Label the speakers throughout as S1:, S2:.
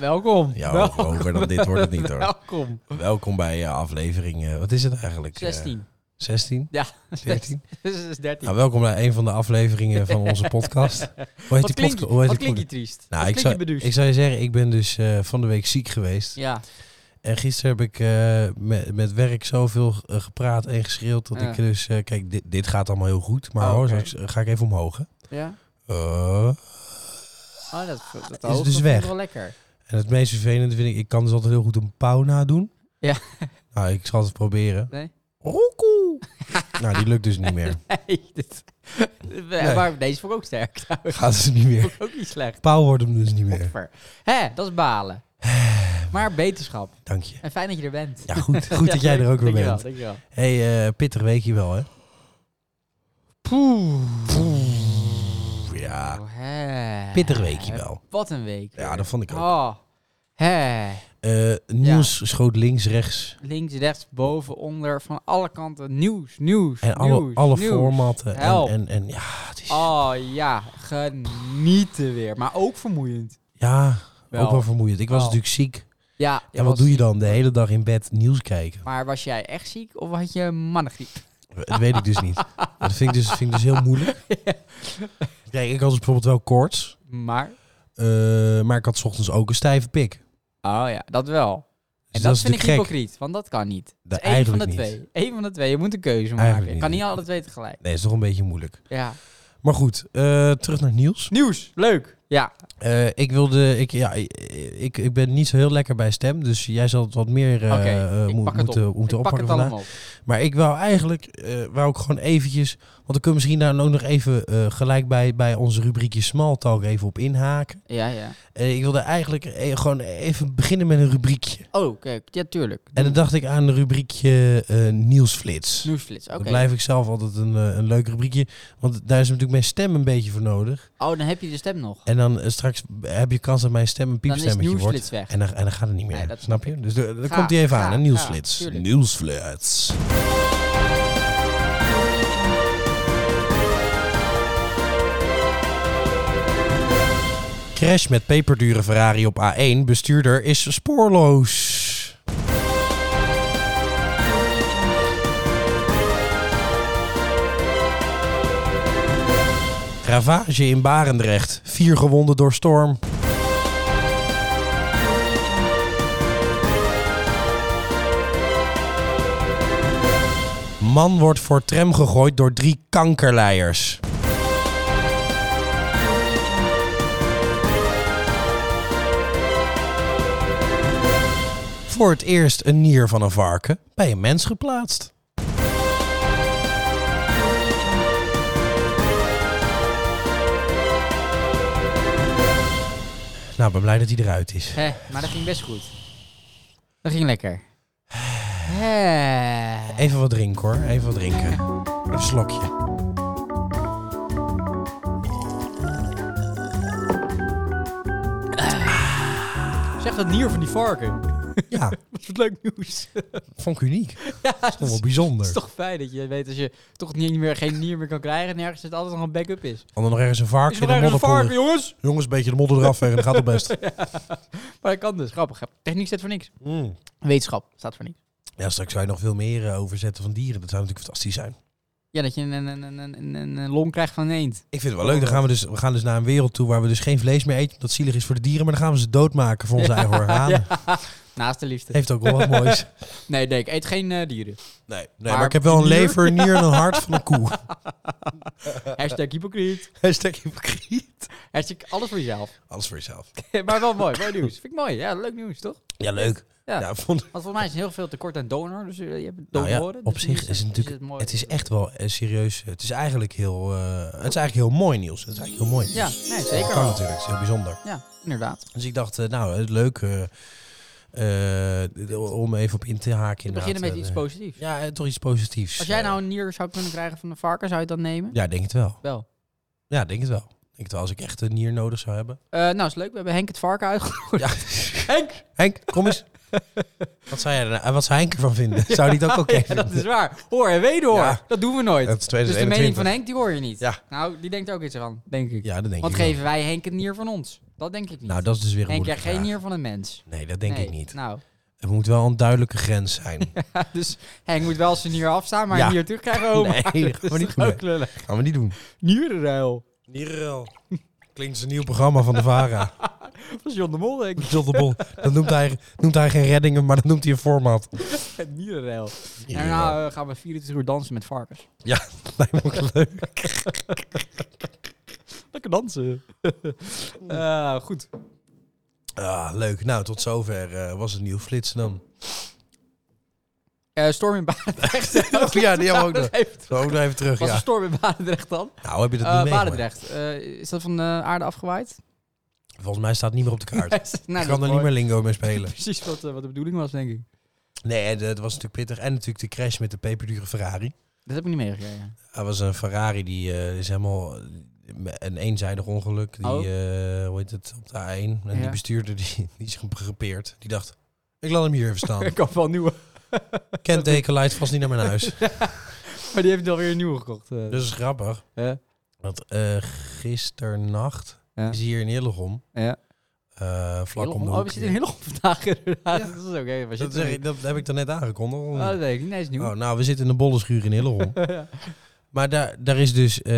S1: welkom.
S2: Ja,
S1: Wel-
S2: ook hoger dan dit wordt het niet hoor.
S1: welkom.
S2: Welkom bij eh, aflevering, eh, wat is het eigenlijk? Eh,
S1: 16.
S2: 16?
S1: Ja,
S2: 14?
S1: Dit is 13.
S2: Nou, welkom bij een van de afleveringen van onze podcast. Hoe heet
S1: wat
S2: die
S1: klink,
S2: podcast?
S1: je-
S2: Hoe heet die
S1: wat klink
S2: pod-
S1: je triest?
S2: Nou,
S1: wat
S2: ik
S1: klink
S2: zou,
S1: je beduusd?
S2: ik zou je zeggen, ik ben dus eh, van de week ziek geweest.
S1: Ja,
S2: En gisteren heb ik eh, met, met werk zoveel eh, gepraat en geschreeuwd dat
S1: Ja.
S2: ik dus... eh, kijk, dit, dit gaat allemaal heel goed, maar
S1: Oh,
S2: hoor,
S1: oké.
S2: straks, eh, ga ik even omhoog. Hè.
S1: ja.
S2: Eh,
S1: Oh, dat, dat, dat
S2: dus
S1: dat vind
S2: weg.
S1: ik wel lekker.
S2: en het meest vervelende vind ik, ik kan dus altijd heel goed een pauw nadoen.
S1: Ja.
S2: Nou, ik zal het proberen.
S1: Nee?
S2: Roekoe! nou, die lukt dus niet meer.
S1: Nee, dit, Maar deze vond ik ook sterk trouwens.
S2: Gaat dus niet meer.
S1: Vond ik ook niet slecht.
S2: Pauw wordt hem dus niet meer.
S1: Godver. Hè, dat is balen. Maar beterschap.
S2: Dank je.
S1: En fijn dat je er bent.
S2: Ja, goed. Goed dat jij er ook weer
S1: Dankjewel,
S2: bent.
S1: dankjewel.
S2: Hé, hey, pittig weekje wel, hè? Poeh. Ja,
S1: Oh, hè.
S2: pittig weekje wel.
S1: Wat een week.
S2: Ja,
S1: weer.
S2: dat vond ik ook.
S1: Oh. Hè.
S2: Eh, nieuws schoot links, rechts.
S1: Links, rechts, boven, onder, van alle kanten. Nieuws, nieuws,
S2: En alle,
S1: nieuws,
S2: alle
S1: nieuws.
S2: formatten. En,
S1: Help.
S2: en, en ja, het is...
S1: Oh ja, genieten weer. Maar ook vermoeiend.
S2: Ja, ook
S1: Wel.
S2: wel vermoeiend. Ik was
S1: Wel.
S2: natuurlijk ziek.
S1: Ja,
S2: En wat
S1: was-
S2: doe je dan? De hele dag in bed nieuws kijken.
S1: Maar was jij echt ziek of had je mannengriep?
S2: Dat weet ik dus niet. Dat vind ik dus, vind ik dus heel moeilijk. Kijk, ik had dus bijvoorbeeld wel koorts.
S1: Maar,
S2: Eh, maar ik had 's ochtends ook een stijve pik. Dus
S1: oh ja, dat wel. En dat,
S2: is
S1: vind ik
S2: natuurlijk gek.
S1: hypocriet, want dat kan niet.
S2: Da-
S1: Het is één van de
S2: eigenlijk niet.
S1: twee. Eén van de twee, je moet een keuze
S2: Eigenlijk
S1: maken. Je
S2: niet.
S1: kan niet alle twee tegelijk.
S2: Nee, is toch een beetje moeilijk.
S1: Ja.
S2: Maar goed, eh, terug naar het nieuws.
S1: Nieuws, leuk. Ja,
S2: Eh, ik wilde, ik, ja, ik, ik- ik ben niet zo heel lekker bij stem, dus jij zal het wat meer eh,
S1: Oké,
S2: eh,
S1: ik
S2: moet-
S1: pak het
S2: moeten,
S1: op.
S2: moeten
S1: ik pak
S2: oppakken
S1: het
S2: vandaag.
S1: allemaal op.
S2: Maar ik wou eigenlijk, eh wou ik gewoon eventjes, want dan kunnen we misschien daar ook nog even eh, gelijk bij, bij onze rubriekje Small Talk even op inhaken.
S1: Ja, ja.
S2: Eh, ik wilde eigenlijk eh, gewoon even beginnen met een rubriekje.
S1: Oh, kijk, ja, tuurlijk.
S2: En dan dacht ik aan een rubriekje eh, Nieuwsflits.
S1: Nieuwsflits, oké.
S2: Dat blijf ik zelf altijd een, eh, een leuk rubriekje. Want daar is natuurlijk mijn stem een beetje voor nodig.
S1: Oh, dan heb je de stem nog.
S2: En dan eh, straks heb je kans dat mijn stem een
S1: Dan is
S2: piepstemmetje wordt.
S1: nieuwsflits weg.
S2: En dan, en dan gaat het niet meer.
S1: Nee, dat
S2: snap je? Dus de- dan
S1: Ga,
S2: komt hij even
S1: ga,
S2: aan. Een nieuwsflits.
S1: ga, tuurlijk.
S2: nieuwsflits. Crash met peperdure Ferrari op A1. Bestuurder is spoorloos. Ravage in Barendrecht. Vier gewonden door storm. Man wordt voor tram gegooid door drie kankerleiers. Voor het eerst een nier van een varken bij een mens geplaatst. Nou, ben blij dat hij eruit is.
S1: Hè, maar dat ging best goed. Dat ging lekker. Hè.
S2: Even wat drinken hoor, even wat drinken. Een slokje.
S1: Zeg dat nier van die varken.
S2: Ja,
S1: Wat voor leuk nieuws.
S2: vond ik uniek.
S1: ja,
S2: Vond
S1: het
S2: ik
S1: is,
S2: wel bijzonder.
S1: het is toch fijn dat je weet als je toch niet meer, geen nier meer kan krijgen. Nergens dat altijd nog een backup is.
S2: Kan er nog ergens een
S1: Is
S2: varkens
S1: er
S2: in de
S1: ergens een
S2: modderpoel?
S1: varken, jongens?
S2: Jongens, een beetje de modder eraf en dat gaat het best.
S1: Maar dat kan dus. Grappig. hè? Techniek staat voor niks.
S2: Mm.
S1: Wetenschap staat voor niks.
S2: Ja, straks zou je nog veel meer eh, overzetten van dieren. Dat zou natuurlijk fantastisch zijn.
S1: Ja, dat je een, een, een, een, een, een long krijgt van een eend.
S2: Ik vind het wel leuk. Dan gaan we, dus, we gaan dus naar een wereld toe waar we dus geen vlees meer eten. Omdat het zielig is voor de dieren. Maar dan gaan we ze doodmaken voor onze eigen organen.
S1: Naast de liefde.
S2: Heeft ook wel wat moois.
S1: Nee, nee, ik eet geen eh, dieren.
S2: Nee, nee maar,
S1: Maar
S2: ik heb wel een
S1: een nier?
S2: lever, een nier en een hart van een koe. Eh,
S1: Hashtag hypocriet.
S2: Hashtag hypocriet.
S1: Hashtag alles voor jezelf.
S2: Alles voor jezelf.
S1: maar wel mooi. Mooi nieuws. Vind ik mooi. Ja, leuk nieuws, toch?
S2: Ja, leuk. Ja,
S1: Ja.
S2: vond,
S1: Want volgens mij is er heel veel tekort aan donor. Dus eh, je hebt
S2: Nou ja,
S1: donoren.
S2: op
S1: dus
S2: zich
S1: nu
S2: is het natuurlijk-
S1: mooi.
S2: Het is echt wel eh, serieus. Het is eigenlijk heel, eh, het is eigenlijk heel mooi nieuws. Het is eigenlijk heel mooi.
S1: Ja,
S2: nieuws.
S1: nee,
S2: Dat
S1: zeker
S2: kan
S1: wel.
S2: natuurlijk. Het is heel bijzonder.
S1: Ja, inderdaad.
S2: Dus ik dacht, eh, nou, eh, leuk eh, eh, d- om even op in te haken.
S1: We beginnen met
S2: inderdaad.
S1: iets
S2: Eh,
S1: positiefs.
S2: Ja, eh, toch iets positiefs.
S1: Als jij
S2: Eh,
S1: nou een nier zou kunnen krijgen van een varken, zou je het dan nemen?
S2: ja, denk het wel.
S1: Wel.
S2: Ja, denk het wel. Denk het wel. Als ik echt een nier nodig zou hebben.
S1: Eh, nou, is leuk. We hebben Henk het varken uitgegooid.
S2: Ja.
S1: Henk!
S2: Henk, kom eens. wat, zou jij, er nou- eh, wat zou Henk ervan vinden? Zou die dat ook oké
S1: ja,
S2: vinden?
S1: dat is waar. Hoor en wederhoor.
S2: Ja.
S1: Dat doen we nooit.
S2: Dat is
S1: dus de
S2: 2021.
S1: mening van Henk, die hoor je niet.
S2: Ja.
S1: Nou, die denkt er ook iets van, denk ik.
S2: Ja, dat denk
S1: Want
S2: ik wel.
S1: geven wij Henk het nier van ons? Dat denk ik niet.
S2: Nou, dat is dus weer een
S1: denk jij
S2: moeilijke
S1: geen
S2: vraag.
S1: nier van een mens?
S2: Nee, dat denk
S1: Nee.
S2: ik niet.
S1: Nou,
S2: Er moet wel een duidelijke grens zijn.
S1: dus Henk moet wel zijn nier afstaan, maar
S2: Ja.
S1: een nier terugkrijgen. Oh,
S2: Nee,
S1: maar
S2: dat
S1: dat
S2: gaan we
S1: is
S2: niet
S1: toch
S2: doen.
S1: ook lullig.
S2: Gaan we niet doen.
S1: Nierenruil.
S2: Nierel. Klinkt als een nieuw programma van de VARA.
S1: Dat was John de Mol, denk ik.
S2: John de Bol. Dat noemt hij, noemt hij geen reddingen, maar dat noemt hij een format.
S1: Nierenruil. En daarna eh, gaan we 24 uur dansen met varkens.
S2: Lijkt me ook leuk.
S1: Lekker dansen. Eh, goed.
S2: Ah, leuk. Nou, tot zover eh, was het nieuw flitsen dan.
S1: Eh, storm in Barendrecht.
S2: Oh, ja, die hebben we ook nog.
S1: Even-
S2: Zo, ook nog even terug,
S1: Was een
S2: ja.
S1: storm in Barendrecht dan?
S2: Nou, heb je dat
S1: Eh
S2: niet meegemaakt?
S1: Barendrecht. Eh, is dat van de aarde afgewaaid?
S2: Volgens mij staat het niet meer op de kaart.
S1: nou,
S2: ik kan er niet meer lingo mee spelen.
S1: Precies wat, eh, wat de bedoeling was, denk ik.
S2: Nee, dat was natuurlijk pittig. En natuurlijk de crash met de peperdure Ferrari.
S1: Dat heb ik niet meegekregen.
S2: Dat was een Ferrari die eh, is helemaal een eenzijdig ongeluk. Die,
S1: Oh.
S2: eh, hoe heet het, op de A1. En die
S1: Ja.
S2: bestuurder die, die is gepeerd. Die dacht, ik laat hem hier even staan.
S1: Ik had wel een nieuwe.
S2: Kenteken leidt vast niet naar mijn huis.
S1: Maar die heeft alweer een nieuwe gekocht. eh.
S2: Dus is grappig.
S1: Ja.
S2: Want eh gisternacht
S1: Ja.
S2: is hier in Hillegom.
S1: Ja.
S2: eh, vlak om
S1: Hillegom.
S2: de
S1: Oh,
S2: hoek.
S1: we zitten in Hillegom vandaag inderdaad. Dat is ook even.
S2: dat, zeg ik- dat heb ik dan net aangekondigd.
S1: Oh, dat weet ik niet. Nee, is nieuw.
S2: Oh, nou, we zitten in de bollenschuur in Hillegom.
S1: Ja.
S2: maar daar, daar is dus eh,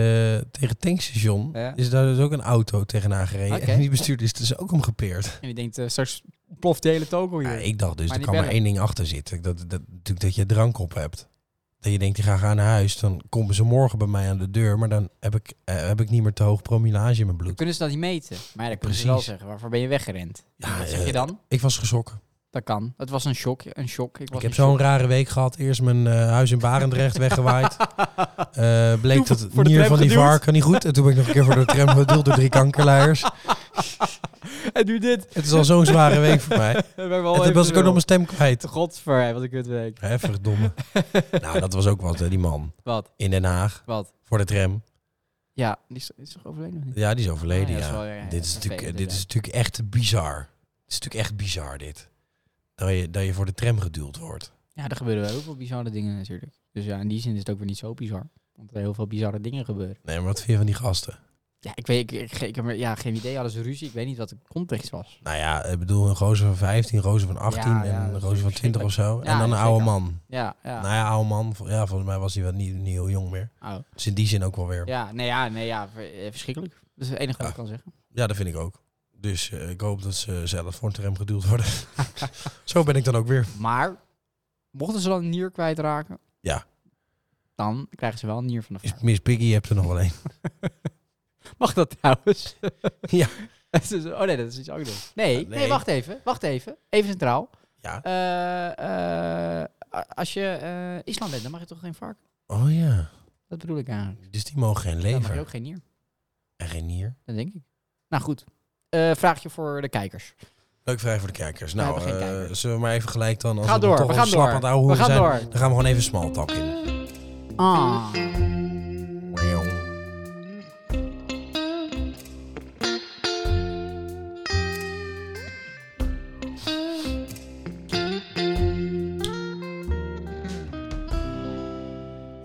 S2: tegen het tankstation
S1: Ja.
S2: is daar dus ook een auto tegenaan gereden.
S1: Oké.
S2: En die bestuurder is dus ook omgepeerd.
S1: En je denkt, eh, straks ploft de hele toko hier.
S2: Ja, ik dacht dus,
S1: Maar
S2: er
S1: die
S2: kan maar één
S1: bellen.
S2: ding achter zitten. Dat, dat, natuurlijk dat je drank op hebt. Dat je denkt, die gaan gaan naar huis. Dan komen ze morgen bij mij aan de deur. Maar dan heb ik, eh, heb ik niet meer te hoog promillage in mijn bloed.
S1: Kunnen ze dat niet meten? Maar ja, dan kunnen
S2: Precies.
S1: ze wel zeggen, waarvoor ben je weggerend?
S2: Ja,
S1: Wat zeg
S2: eh,
S1: je dan?
S2: Ik was geschrokken.
S1: Dat kan. Het was een shock. Een shock. Ik, was
S2: Ik heb
S1: in shock.
S2: zo'n rare week gehad. Eerst mijn eh, huis in Barendrecht weggewaaid. Eh, bleek
S1: Toen
S2: dat
S1: voor
S2: het
S1: de
S2: nier
S1: tram
S2: van die
S1: geduwd.
S2: varken niet goed. En toen ben ik nog een keer voor de tram geduld door drie kankerleiers.
S1: En nu dit.
S2: Het is al zo'n zware week voor mij. En toen was ik ook nog mijn stem kwijt.
S1: Godver, wat een kutweek.
S2: Hè, verdomme. nou, dat was ook wat, hè, die man.
S1: Wat?
S2: In Den Haag,
S1: Wat?
S2: voor de tram.
S1: Ja, die is, is toch overleden of niet?
S2: Ja, die is overleden,
S1: Ah,
S2: ja.
S1: ja, dat is wel, ja, ja,
S2: dit, is
S1: dat
S2: natuurlijk, eh,
S1: weet ik
S2: dit is natuurlijk echt bizar. Het is natuurlijk echt bizar, dit. Dat je, dat je voor de tram geduwd wordt.
S1: Ja, er gebeuren wel heel veel bizarre dingen natuurlijk. Dus ja, in die zin is het ook weer niet zo bizar. Want er heel veel bizarre dingen gebeuren.
S2: Nee, maar wat vind je van die gasten?
S1: Ja, ik weet, ik, ik, ik heb er- ja, geen idee. Hadden ze ruzie? Ik weet niet wat de context was.
S2: Nou ja, ik bedoel, een gozer van 15, een gozer van 18
S1: Ja, ja,
S2: en een
S1: dat
S2: gozer
S1: is
S2: van 20 of zo.
S1: Ja,
S2: en dan een oude
S1: zeker.
S2: man.
S1: Ja, ja.
S2: Nou ja, oude man. vol- Ja, volgens mij was hij wel niet, niet heel jong meer.
S1: Oh.
S2: Dus in die zin ook wel weer. Ja,
S1: Ja, nee, ja, nee, ja, ver- eh, verschrikkelijk. Dat is het enige wat
S2: Ja.
S1: ik kan zeggen.
S2: dat vind ik ook. Dus eh, ik hoop dat ze zelf voor een tram geduwd worden. zo ben ik dan ook weer.
S1: Maar, mochten ze dan een nier kwijtraken...
S2: Ja.
S1: Dan krijgen ze wel een nier van de
S2: Is-
S1: vark.
S2: Miss Piggy, je hebt er nog wel een.
S1: Mag dat trouwens?
S2: Ja.
S1: Dat is- oh nee, dat is iets anders. Nee,
S2: Ja, nee.
S1: nee. wacht even. Wacht even. Even centraal.
S2: Ja.
S1: Eh, eh, als je eh Islam bent, dan mag je toch geen varken?
S2: Oh ja.
S1: Dat bedoel ik eigenlijk.
S2: Dus die mogen geen
S1: Dan mag
S2: lever
S1: je ook geen nier.
S2: en geen nier.
S1: Dat denk ik. Nou goed. Eh, vraagje voor de kijkers.
S2: Leuk vraag voor de kijkers.
S1: We
S2: Nou,
S1: hebben geen
S2: eh,
S1: kijkers.
S2: zullen we maar even gelijk dan. Als
S1: Ga
S2: we dan
S1: door,
S2: toch
S1: we
S2: al
S1: gaan
S2: slap
S1: door.
S2: aan het ouwe
S1: We
S2: hoeren
S1: gaan
S2: zijn,
S1: door.
S2: Dan gaan we gewoon even smalltalk in.
S1: Ah.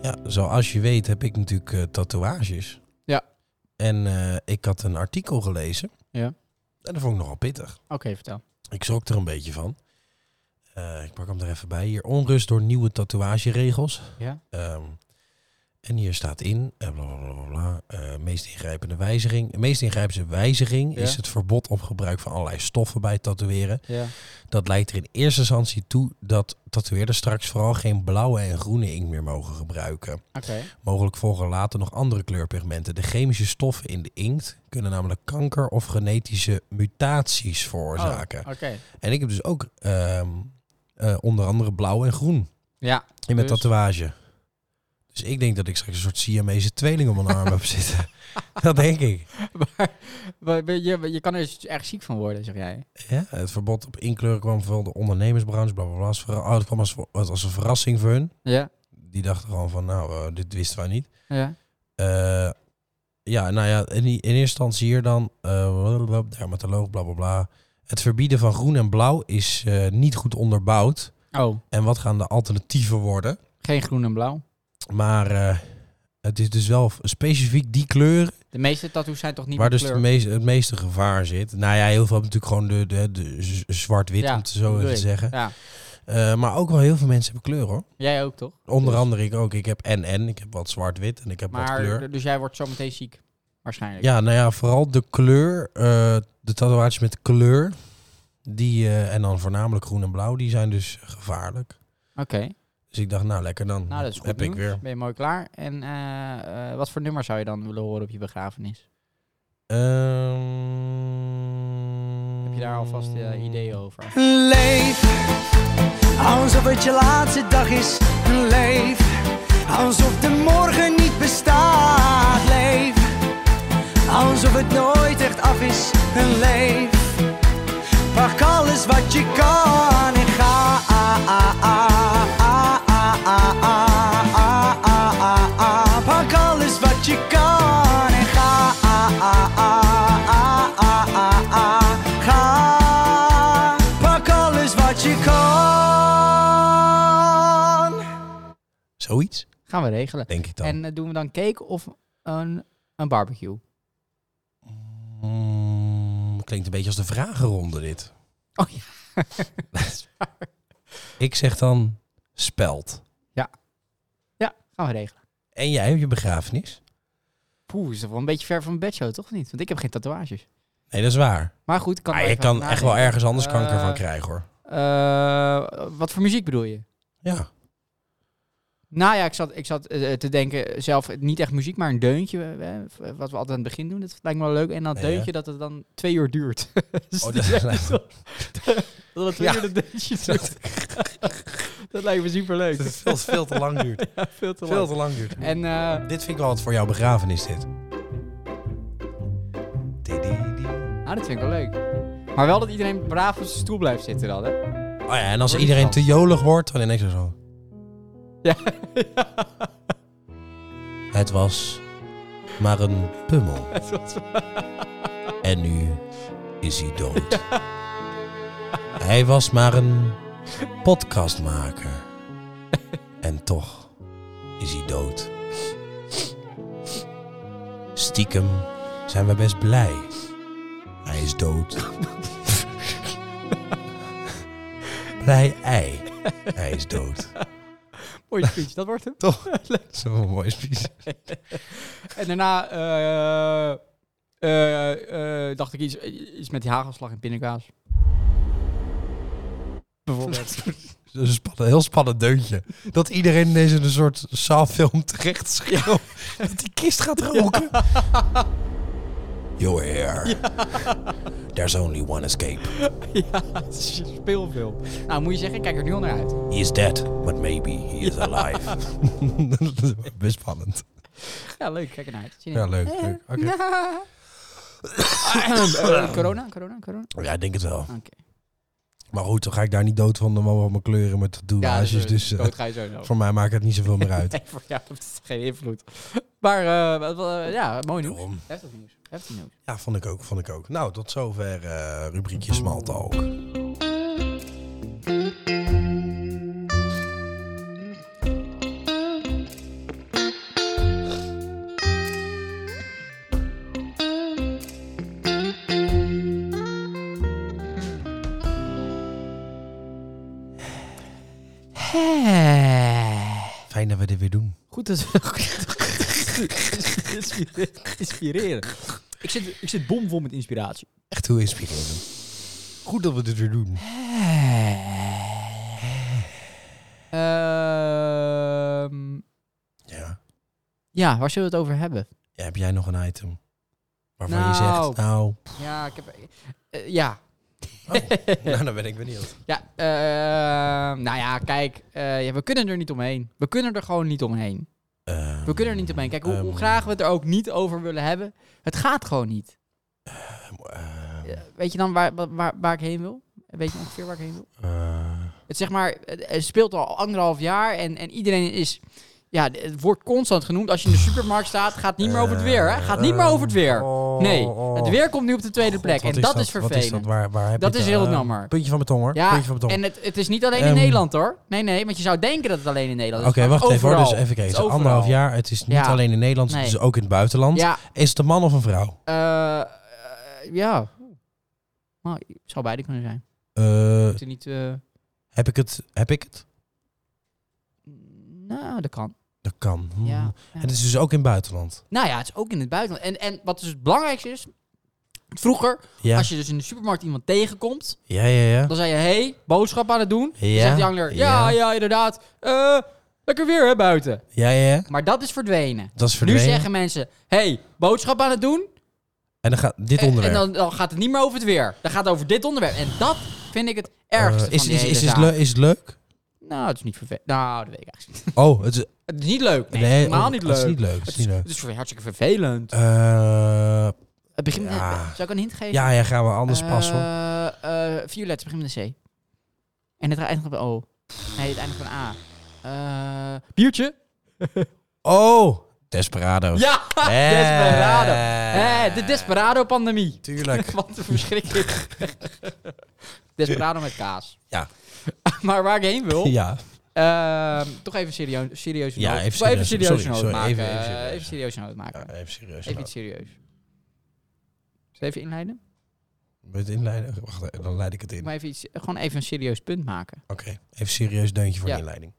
S2: Ja, zoals je weet heb ik natuurlijk eh, tatoeages.
S1: Ja.
S2: En eh, ik had een artikel gelezen.
S1: Ja.
S2: En dat vond ik nogal pittig.
S1: Oké, vertel.
S2: Ik schrok er een beetje van. Eh, ik pak hem er even bij. Hier onrust door nieuwe tatoeageregels.
S1: Ja.
S2: Ehm, en hier staat in, eh, bla bla bla bla, bla, eh, meest ingrijpende wijziging. De meest ingrijpende wijziging
S1: Ja.
S2: is het verbod op gebruik van allerlei stoffen bij het tatoeëren.
S1: Ja.
S2: Dat leidt er in eerste instantie toe dat tatoeëerders straks vooral geen blauwe en groene inkt meer mogen gebruiken.
S1: Oké.
S2: Mogelijk volgen later nog andere kleurpigmenten. De chemische stoffen in de inkt kunnen namelijk kanker of genetische mutaties veroorzaken.
S1: Oké.
S2: En ik heb dus ook ehm, eh, onder andere blauw en groen
S1: Ja.
S2: in mijn
S1: Dus?
S2: tatoeage. Dus ik denk dat ik straks een soort Siamese tweeling op mijn arm heb zitten. Dat denk ik.
S1: Maar, maar je, je kan er dus erg ziek van worden, zeg jij.
S2: Ja, het verbod op inkleuren kwam van de ondernemersbranche, bla bla bla. Als verra- Oh, het kwam als, ver- als een verrassing voor hun.
S1: Ja.
S2: Die dachten gewoon van, nou, eh, dit wisten wij niet.
S1: Ja.
S2: Eh, ja, nou ja, in, i- in eerste instantie hier dan, eh, blablabla, dermatoloog, bla bla bla. Het verbieden van groen en blauw is eh, niet goed onderbouwd.
S1: Oh,
S2: En wat gaan de alternatieven worden?
S1: geen groen en blauw.
S2: Maar eh, het is dus wel f- specifiek die kleuren
S1: De meeste tattoos zijn toch niet
S2: Waar
S1: met
S2: dus
S1: kleur?
S2: de meeste, het meeste gevaar zit. Nou ja, heel veel hebben natuurlijk gewoon de, de, de z- zwart-wit,
S1: Ja,
S2: om het zo
S1: bedoel
S2: even te
S1: ik.
S2: zeggen.
S1: Ja,
S2: Eh, maar ook wel heel veel mensen hebben kleur hoor.
S1: jij ook toch?
S2: Onder
S1: Dus-
S2: andere ik ook. Ik heb en en. Ik heb wat zwart-wit en ik heb wat kleur.
S1: Maar, dus jij wordt zo meteen ziek. Waarschijnlijk.
S2: Ja, nou ja, vooral de kleur. eh, de tatoeages met kleur. Die, eh, en dan voornamelijk groen en blauw. Die zijn dus gevaarlijk.
S1: Oké,
S2: Dus ik dacht, nou lekker dan.
S1: nou dat is goed
S2: heb ik
S1: nieuws.
S2: weer.
S1: Ben je mooi klaar. En eh, eh, wat voor nummer zou je dan willen horen op je begrafenis?
S2: Ehm,
S1: Heb je daar alvast eh, ideeën over?
S3: Leef, alsof het je laatste dag is. Leef, alsof de morgen niet bestaat. Leef, alsof het nooit echt af is. Leef, pak alles wat je kan en ga. Pak alles wat je kan en ga. Ga, pak alles wat je kan.
S2: Zoiets,
S1: Gaan we regelen.
S2: denk ik dan.
S1: En eh, doen we dan cake of een, een barbecue?
S2: Mm, klinkt een beetje als de vragenronde dit.
S1: Oh ja.
S2: Ik zeg dan speld.
S1: Ja, gaan we regelen.
S2: En jij hebt je begrafenis?
S1: Poeh, is dat wel een beetje ver van mijn bedshow, toch of niet? Want ik heb geen tatoeages.
S2: Nee, dat is waar.
S1: Maar goed, ik kan
S2: Ah,
S1: er
S2: ik
S1: even over
S2: kan echt wel
S1: nadenken.
S2: ergens anders kanker
S1: Eh,
S2: van krijgen hoor.
S1: eh, wat voor muziek bedoel je?
S2: Ja.
S1: Nou ja, ik zat, ik zat eh, te denken, zelf eh, niet echt muziek, maar een deuntje. eh, eh, wat we altijd aan het begin doen, dat lijkt me wel leuk. En dat
S2: Ja, ja.
S1: deuntje dat het dan twee uur duurt. Dus
S2: Oh,
S1: dat
S2: dat
S1: is echt
S2: lijkt
S1: zo- dat het twee
S2: Ja.
S1: uur dat deuntje duurt. dat lijkt me superleuk.
S2: Dat het veel, veel te lang duurt.
S1: Ja, veel te
S2: Veel
S1: lang.
S2: te lang duurt.
S1: En eh,
S2: Dit vind ik wel wat voor jouw begrafenis, dit. Tididi.
S1: ah, dat vind ik wel leuk. Maar wel dat iedereen braaf op zijn stoel blijft zitten dan, hè?
S2: Oh ja, en als iedereen te jolig wordt, oh dan ineens zo.
S1: Ja.
S2: Het was maar een pummel.
S1: Het was-
S2: En nu is hij dood. Hij was maar een podcastmaker. En toch is hij dood. Stiekem zijn we best blij. Hij is dood. blij ei. Hij is dood.
S1: Mooie speech, dat wordt hem.
S2: Toch? Zo'n mooi speech.
S1: En daarna eh, eh, eh, dacht ik iets, iets met die hagelslag en pindakaas. Bijvoorbeeld.
S2: Dat is Een spannend, heel spannend deuntje. Dat iedereen ineens in een soort zaalfilm terecht schreeuwt. Dat die kist gaat roken. You're here. There's only one escape.
S1: Ja, het is een speelfilm. Nou, moet je zeggen, ik kijk er nu al naar uit.
S2: He is dead, but maybe he is alive. Best spannend.
S1: Ja, leuk. Kijk ernaar uit. Zin in.
S2: Ja, leuk. leuk. Oké.
S1: Eh, corona, corona, corona.
S2: Ja, ik denk het wel.
S1: Oké.
S2: Maar goed, dan ga ik daar niet dood van. Dan wel mijn kleuren met
S1: dus,
S2: tatoeages.
S1: eh,
S2: dus eh,
S1: dood ga je sowieso.
S2: voor mij maakt het niet zoveel meer uit.
S1: Nee, voor jou heeft het geen invloed. Maar eh, wat- wat- eh, ja, mooi nieuws.
S2: Daarom.
S1: Heftig nieuws. Heftig nieuws.
S2: Ja, vond ik ook, vond ik ook. Nou, tot zover eh rubriekje Smalltalk. Fijn dat we dit weer doen.
S1: Goed dat we... Inspireren. Ik zit, ik zit bomvol met inspiratie.
S2: Echt heel inspirerend. Goed dat we dit weer doen.
S1: Ehm,
S2: Ja.
S1: ja, waar zullen we het over hebben?
S2: Ja, heb jij nog een item waarvan je
S1: Nou.
S2: zegt, nou,
S1: Ja, ik heb... eh, ja,
S2: oh, nou, dan ben ik benieuwd.
S1: Ja, eh, nou ja, kijk, eh, ja, we kunnen er niet omheen. We kunnen er gewoon niet omheen.
S2: Ehm,
S1: We kunnen er niet omheen. Kijk, hoe, hoe
S2: ehm,
S1: graag we het er ook niet over willen hebben, het gaat gewoon niet.
S2: ehm,
S1: Eh, weet je dan waar, waar- waar, waar ik heen wil? Weet je ongeveer waar ik heen wil?
S2: eh,
S1: Het, zeg maar, het, het speelt al anderhalf jaar en, en iedereen is Ja, d- het wordt constant genoemd. Als je in de supermarkt staat, gaat het niet meer over het weer. Hè? Gaat niet meer over het weer.
S2: Eh, Oh,
S1: Nee,
S2: oh.
S1: het weer komt nu op de tweede
S2: God,
S1: plek.
S2: wat
S1: En dat is
S2: Wat
S1: vervelend.
S2: dat? Waar, waar heb
S1: Dat
S2: je
S1: is
S2: dan?
S1: heel
S2: Eh,
S1: jammer.
S2: Puntje van mijn tong hoor.
S1: Ja,
S2: Puntje van mijn tong.
S1: en het, het is niet alleen in
S2: Ehm,
S1: Nederland hoor. Nee, nee, want je zou denken dat het alleen in Nederland
S2: Oké,
S1: is. maar
S2: wacht even hoor.
S1: overal.
S2: Dus even
S1: Het
S2: kijken.
S1: is
S2: Het is
S1: overal.
S2: anderhalf jaar. Het is niet
S1: Ja.
S2: alleen in Nederland,
S1: Nee.
S2: het is ook in het buitenland.
S1: Ja,
S2: Is het een man of een vrouw?
S1: eh, eh, ja. Nou, het zou beide kunnen zijn.
S2: Eh,
S1: Het is niet, eh,
S2: heb ik het? Heb ik het?
S1: nou, dat kan.
S2: Dat kan. Hmm.
S1: Ja, ja.
S2: En het is dus ook in het buitenland.
S1: Nou ja, het is ook in het buitenland. En, en wat dus het belangrijkste is, vroeger,
S2: Ja,
S1: als je dus in de supermarkt iemand tegenkomt,
S2: ja, ja. ja.
S1: dan zei je, hé, hey, boodschap aan het doen. Dan
S2: Ja,
S1: zegt die angler, ja, ja,
S2: ja.
S1: inderdaad, Eh, lekker weer hè, buiten.
S2: Ja, ja, ja.
S1: Maar dat is verdwenen.
S2: Dat is verdwenen.
S1: Nu zeggen mensen, hey, boodschap aan het doen.
S2: En dan gaat dit
S1: En-
S2: onderwerp.
S1: En dan, dan gaat het niet meer over het weer. Dan gaat het over dit onderwerp. En dat vind ik het ergste
S2: Eh, is,
S1: van die
S2: is,
S1: hele
S2: is, is,
S1: zaak.
S2: le- is het leuk?
S1: Nou, het is niet vervelend. Nou, dat weet ik eigenlijk niet.
S2: Oh, het is,
S1: Het is niet leuk. Nee,
S2: nee,
S1: het is
S2: oh,
S1: helemaal niet leuk.
S2: Het is niet leuk. Het
S1: Het
S2: is niet leuk.
S1: het is ver- hartstikke vervelend.
S2: Eh,
S1: Het begint met...
S2: ja.
S1: Zou ik een hint geven?
S2: ja, ja, gaan we anders passen. hoor.
S1: Eh, eh, vier letters, begint met een C. En het eindigt op een O. Nee, het eindigt op een A. Eh, biertje?
S2: Oh, Desperado's.
S1: Ja!
S2: Eh.
S1: Desperado. Eh, de Desperado-pandemie.
S2: Tuurlijk.
S1: Wat een verschrikking. Desperado met kaas.
S2: Ja.
S1: maar waar ik heen wil,
S2: ja.
S1: ehm, toch even serieus, serieus
S2: Ja,
S1: noot.
S2: even
S1: Toch even
S2: serieus.
S1: serieus
S2: Sorry,
S1: noot
S2: sorry,
S1: maken.
S2: even- even
S1: eh,
S2: serieus.
S1: even serieus noot maken.
S2: Ja, even serieus.
S1: even
S2: nou.
S1: iets serieus. Zal ik even inleiden?
S2: Wil je het inleiden? Wacht, eh, dan leid ik het in. Oh.
S1: Maar even iets, gewoon even een serieus punt maken.
S2: Oké, even serieus deuntje voor
S1: Ja.
S2: de inleiding.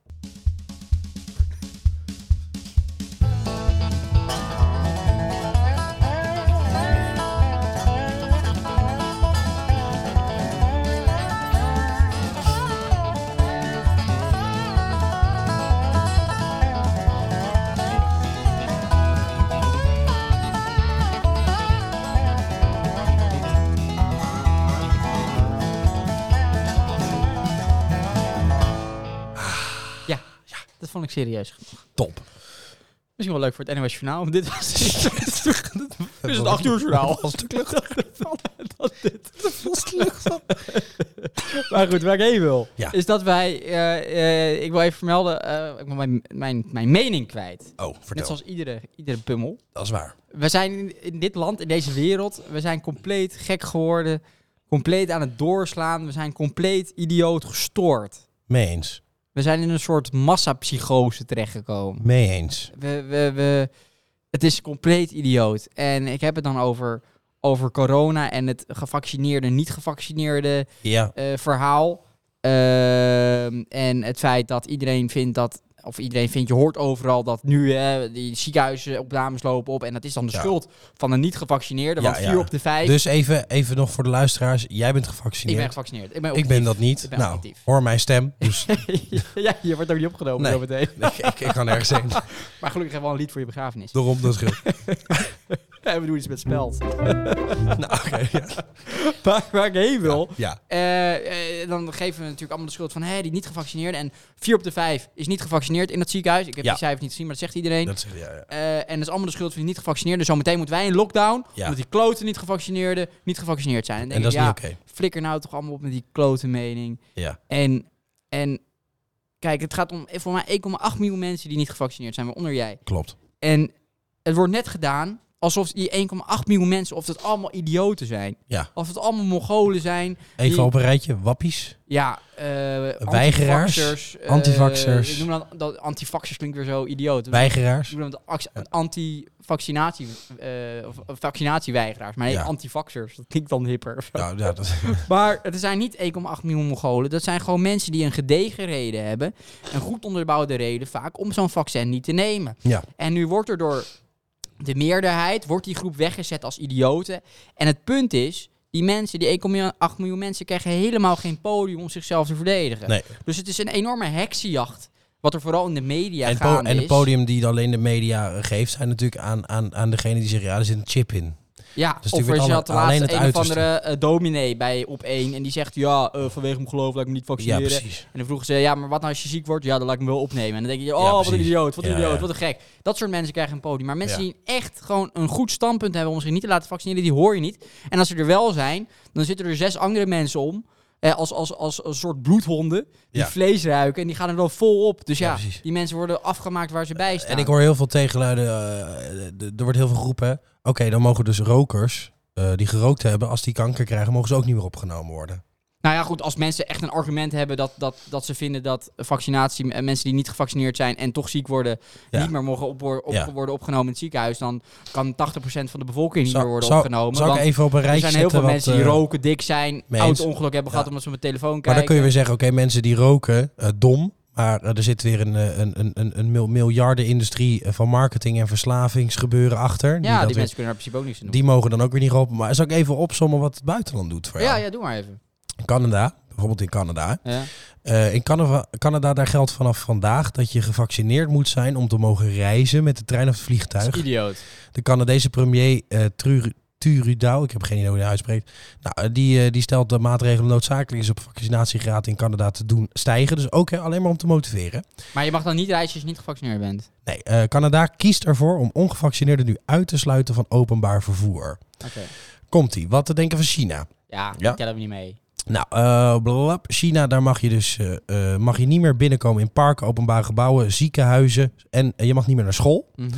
S1: Dat vond ik serieus. Misschien
S2: Top.
S1: wel leuk voor het NOS Journaal, want dit was dit is het 8 uur journaal.
S2: Als het lukt.
S1: Dat dit.
S2: Als het lukt.
S1: Maar goed, waar ik heen wil,
S2: Ja.
S1: is dat wij... eh, eh, ik wil even vermelden, eh, ik wil mijn, mijn, mijn mening kwijt.
S2: Oh,
S1: Net
S2: vertel.
S1: zoals iedere, iedere pummel.
S2: Dat is waar.
S1: We zijn in, in dit land, in deze wereld, we zijn compleet gek geworden. Compleet aan het doorslaan. We zijn compleet idioot gestoord.
S2: Mee eens.
S1: We zijn in een soort massapsychose terechtgekomen.
S2: Mee eens.
S1: We, we, we, het is compleet idioot. En ik heb het dan over, over corona en het gevaccineerde, niet gevaccineerde
S2: Ja.
S1: eh, verhaal. Ehm, en het feit dat iedereen vindt dat, of iedereen vindt, je hoort overal dat nu hè, die ziekenhuizenopnames lopen op. En dat is dan de
S2: Ja.
S1: schuld van de niet-gevaccineerde.
S2: Ja,
S1: want vier
S2: ja.
S1: op de vijf,
S2: Dus even, even nog voor de luisteraars. Jij bent
S1: ik
S2: gevaccineerd.
S1: ben gevaccineerd. Ik ben,
S2: Ik ben dat
S1: Ik
S2: niet.
S1: ben
S2: nou,
S1: objectief.
S2: hoor mijn stem. Dus
S1: op- ja, je wordt ook niet opgenomen
S2: Nee.
S1: zo meteen.
S2: ik, ik, ik kan ergens heen.
S1: Maar gelukkig hebben we al een lied voor je begrafenis.
S2: Daarom dat scheelt.
S1: En we doen iets met speld.
S2: Nou, oké. ja.
S1: Maar waar ik heen wil,
S2: ja.
S1: Eh, eh, dan geven we natuurlijk allemaal de schuld van hé, die niet gevaccineerd. En vier op de vijf is niet gevaccineerd in dat ziekenhuis. Ik heb
S2: Ja.
S1: die cijfers niet gezien, maar dat zegt iedereen.
S2: Dat zeg ja, ja.
S1: Eh, en dat is allemaal de schuld van die niet gevaccineerden. Dus Zometeen moeten wij in lockdown,
S2: Ja.
S1: omdat die kloten niet gevaccineerden niet gevaccineerd zijn. En, dan
S2: En
S1: denk
S2: dat is
S1: ik, ja,
S2: niet oké.
S1: flikker nou toch allemaal op met die klote mening.
S2: Ja.
S1: En, en kijk, het gaat om eh, voor mij 1,8 miljoen mensen die niet gevaccineerd zijn, waaronder jij.
S2: Klopt.
S1: En het wordt net gedaan alsof die 1,8 miljoen mensen, of dat allemaal idioten zijn.
S2: Ja.
S1: Of het allemaal Mongolen zijn.
S2: Even
S1: Die-
S2: op een rijtje. Wappies.
S1: Ja, eh
S2: Weigeraars,
S1: antivaxxers, eh,
S2: antivaxxers.
S1: ik noem dat, dat antivaxers klinkt weer zo idioot. Ik
S2: Weigeraars.
S1: noem dat ax- anti-vaccinatie, eh, of of vaccinatieweigeraars. Maar nee,
S2: Ja.
S1: antivaxers, dat klinkt dan hipper.
S2: Nou, ja, dat,
S1: Maar er zijn niet 1,8 miljoen Mongolen. Dat zijn gewoon mensen die een gedegen reden hebben. Een goed onderbouwde reden vaak om zo'n vaccin niet te nemen.
S2: ja.
S1: En nu wordt er door de meerderheid, wordt die groep weggezet als idioten. En het punt is, die mensen, die 1,8 miljoen mensen, krijgen helemaal geen podium om zichzelf te verdedigen.
S2: Nee.
S1: Dus het is een enorme heksenjacht, wat er vooral in de media
S2: en, po-
S1: gaande
S2: en
S1: is.
S2: het podium die alleen de media eh, geeft, zijn natuurlijk aan, aan, aan degene die zeggen, ja, er zit een chip in.
S1: Ja,
S2: Dus
S1: of
S2: die
S1: er
S2: wordt
S1: zat
S2: alle- alleen
S1: laatst
S2: het
S1: een of
S2: uiterste.
S1: andere eh, dominee bij op één en die zegt, ja, eh, vanwege mijn geloof laat ik me niet
S2: Ja,
S1: vaccineren.
S2: precies.
S1: En dan vroegen ze, ja, maar wat nou als je ziek wordt? Ja, dan laat ik me wel opnemen. En dan denk je, oh, wat een
S2: precies.
S1: idioot, wat een
S2: Ja,
S1: idioot,
S2: ja.
S1: wat een gek. Dat soort mensen krijgen een podium. Maar mensen
S2: Ja.
S1: die echt gewoon een goed standpunt hebben om zich niet te laten vaccineren, die hoor je niet. En als ze er wel zijn, dan zitten er zes andere mensen om. eh, als, als, als een soort bloedhonden die
S2: Ja.
S1: vlees ruiken en die gaan er dan vol op. Dus
S2: Ja,
S1: ja,
S2: precies.
S1: die mensen worden afgemaakt waar ze bij staan.
S2: En ik hoor heel veel tegenluiden. eh, d- d- er wordt heel veel geroepen. hè. Oké, dan mogen dus rokers eh, die gerookt hebben, als die kanker krijgen, mogen ze ook niet meer opgenomen worden.
S1: Nou ja, goed, als mensen echt een argument hebben dat, dat, dat ze vinden dat vaccinatie, eh, mensen die niet gevaccineerd zijn en toch ziek worden,
S2: Ja.
S1: niet meer mogen op, op-
S2: Ja.
S1: worden opgenomen in het ziekenhuis, dan kan 80% van de bevolking niet
S2: Zou-
S1: meer worden
S2: zou-
S1: opgenomen.
S2: Zou ik
S1: want
S2: even op een
S1: er
S2: rijtje
S1: zijn heel veel
S2: zetten
S1: mensen
S2: wat,
S1: die
S2: eh,
S1: roken, dik zijn,
S2: mee
S1: oud
S2: eens.
S1: ongeluk hebben
S2: Ja.
S1: gehad omdat ze op hun telefoon kijken.
S2: Maar dan kun je weer zeggen, oké, mensen die roken, eh, dom. Maar eh, er zit weer een, eh, een, een, een, een mil- miljardenindustrie eh, van marketing en verslavingsgebeuren achter.
S1: ja, die
S2: dat
S1: mensen
S2: weer-
S1: kunnen daar in principe ook niks aan doen.
S2: die mogen dan ook weer niet geholpen. Maar zal ik even opzommen wat het buitenland doet voor
S1: ja,
S2: jou?
S1: ja, doe maar even.
S2: Canada, bijvoorbeeld in Canada.
S1: Ja.
S2: Eh, in Canada, Canada daar geldt vanaf vandaag dat je gevaccineerd moet zijn om te mogen reizen met de trein of het
S1: Dat is
S2: vliegtuig.
S1: idioot.
S2: De Canadese premier eh Tru- Trudeau, ik heb geen idee hoe hij uitspreekt, nou, eh, die, eh, die stelt dat maatregelen noodzakelijk is op vaccinatiegraad in Canada te doen stijgen. Dus ook hè, alleen maar om te motiveren.
S1: Maar je mag dan niet reizen als je niet gevaccineerd bent.
S2: Nee, eh, Canada kiest ervoor om ongevaccineerden nu uit te sluiten van openbaar vervoer.
S1: Oké.
S2: Komt-ie, wat te denken van China?
S1: Ja,
S2: Ja.
S1: die tellen we niet mee.
S2: Nou, eh, blab, China, daar mag je dus eh, eh, mag je niet meer binnenkomen in parken, openbare gebouwen, ziekenhuizen. En eh, je mag niet meer naar school.
S1: Mhm.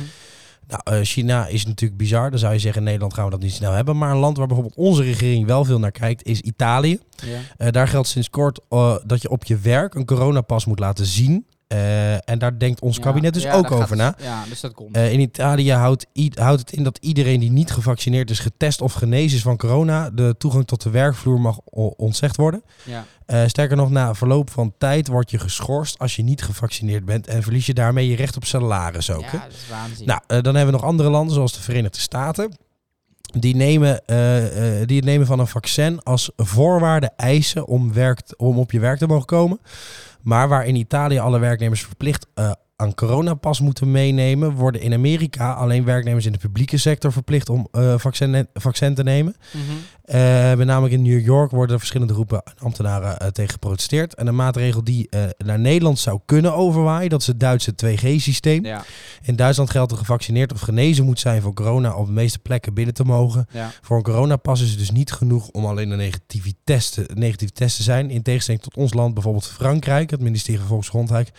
S2: Nou, eh, China is natuurlijk bizar. Dan zou je zeggen, in Nederland gaan we dat niet snel hebben. Maar een land waar bijvoorbeeld onze regering wel veel naar kijkt, is Italië.
S1: Ja.
S2: Eh, daar geldt sinds kort eh, dat je op je werk een coronapas moet laten zien. Eh, en daar denkt ons
S1: Ja,
S2: kabinet dus
S1: ja,
S2: ook
S1: daar gaat
S2: over na.
S1: het- Ja, dus dat komt.
S2: Eh, in Italië houdt, i- houdt het in dat iedereen die niet gevaccineerd is, getest of genezen is van corona, de toegang tot de werkvloer mag o- ontzegd worden.
S1: ja.
S2: Eh, sterker nog, na verloop van tijd word je geschorst als je niet gevaccineerd bent en verlies je daarmee je recht op salaris ook. hè?
S1: ja, dat is waanzin.
S2: Nou, eh, dan hebben we nog andere landen zoals de Verenigde Staten. Die, nemen, eh, eh, die het nemen van een vaccin als voorwaarde eisen om, werk, om op je werk te mogen komen. Maar waar in Italië alle werknemers verplicht eh aan coronapas moeten meenemen, worden in Amerika alleen werknemers in de publieke sector verplicht om eh, vaccin, vaccin te nemen.
S1: Mhm.
S2: Eh, met name in New York worden er verschillende groepen ambtenaren eh, tegen geprotesteerd. En een maatregel die eh, naar Nederland zou kunnen overwaaien, dat is het Duitse 2G-systeem.
S1: Ja,
S2: In Duitsland geldt dat gevaccineerd of genezen moet zijn voor corona om op de meeste plekken binnen te mogen.
S1: ja.
S2: Voor een coronapas is het dus niet genoeg om alleen een negatieve test, te- negatief test te zijn. In tegenstelling tot ons land, bijvoorbeeld Frankrijk, het ministerie van Volksgezondheid,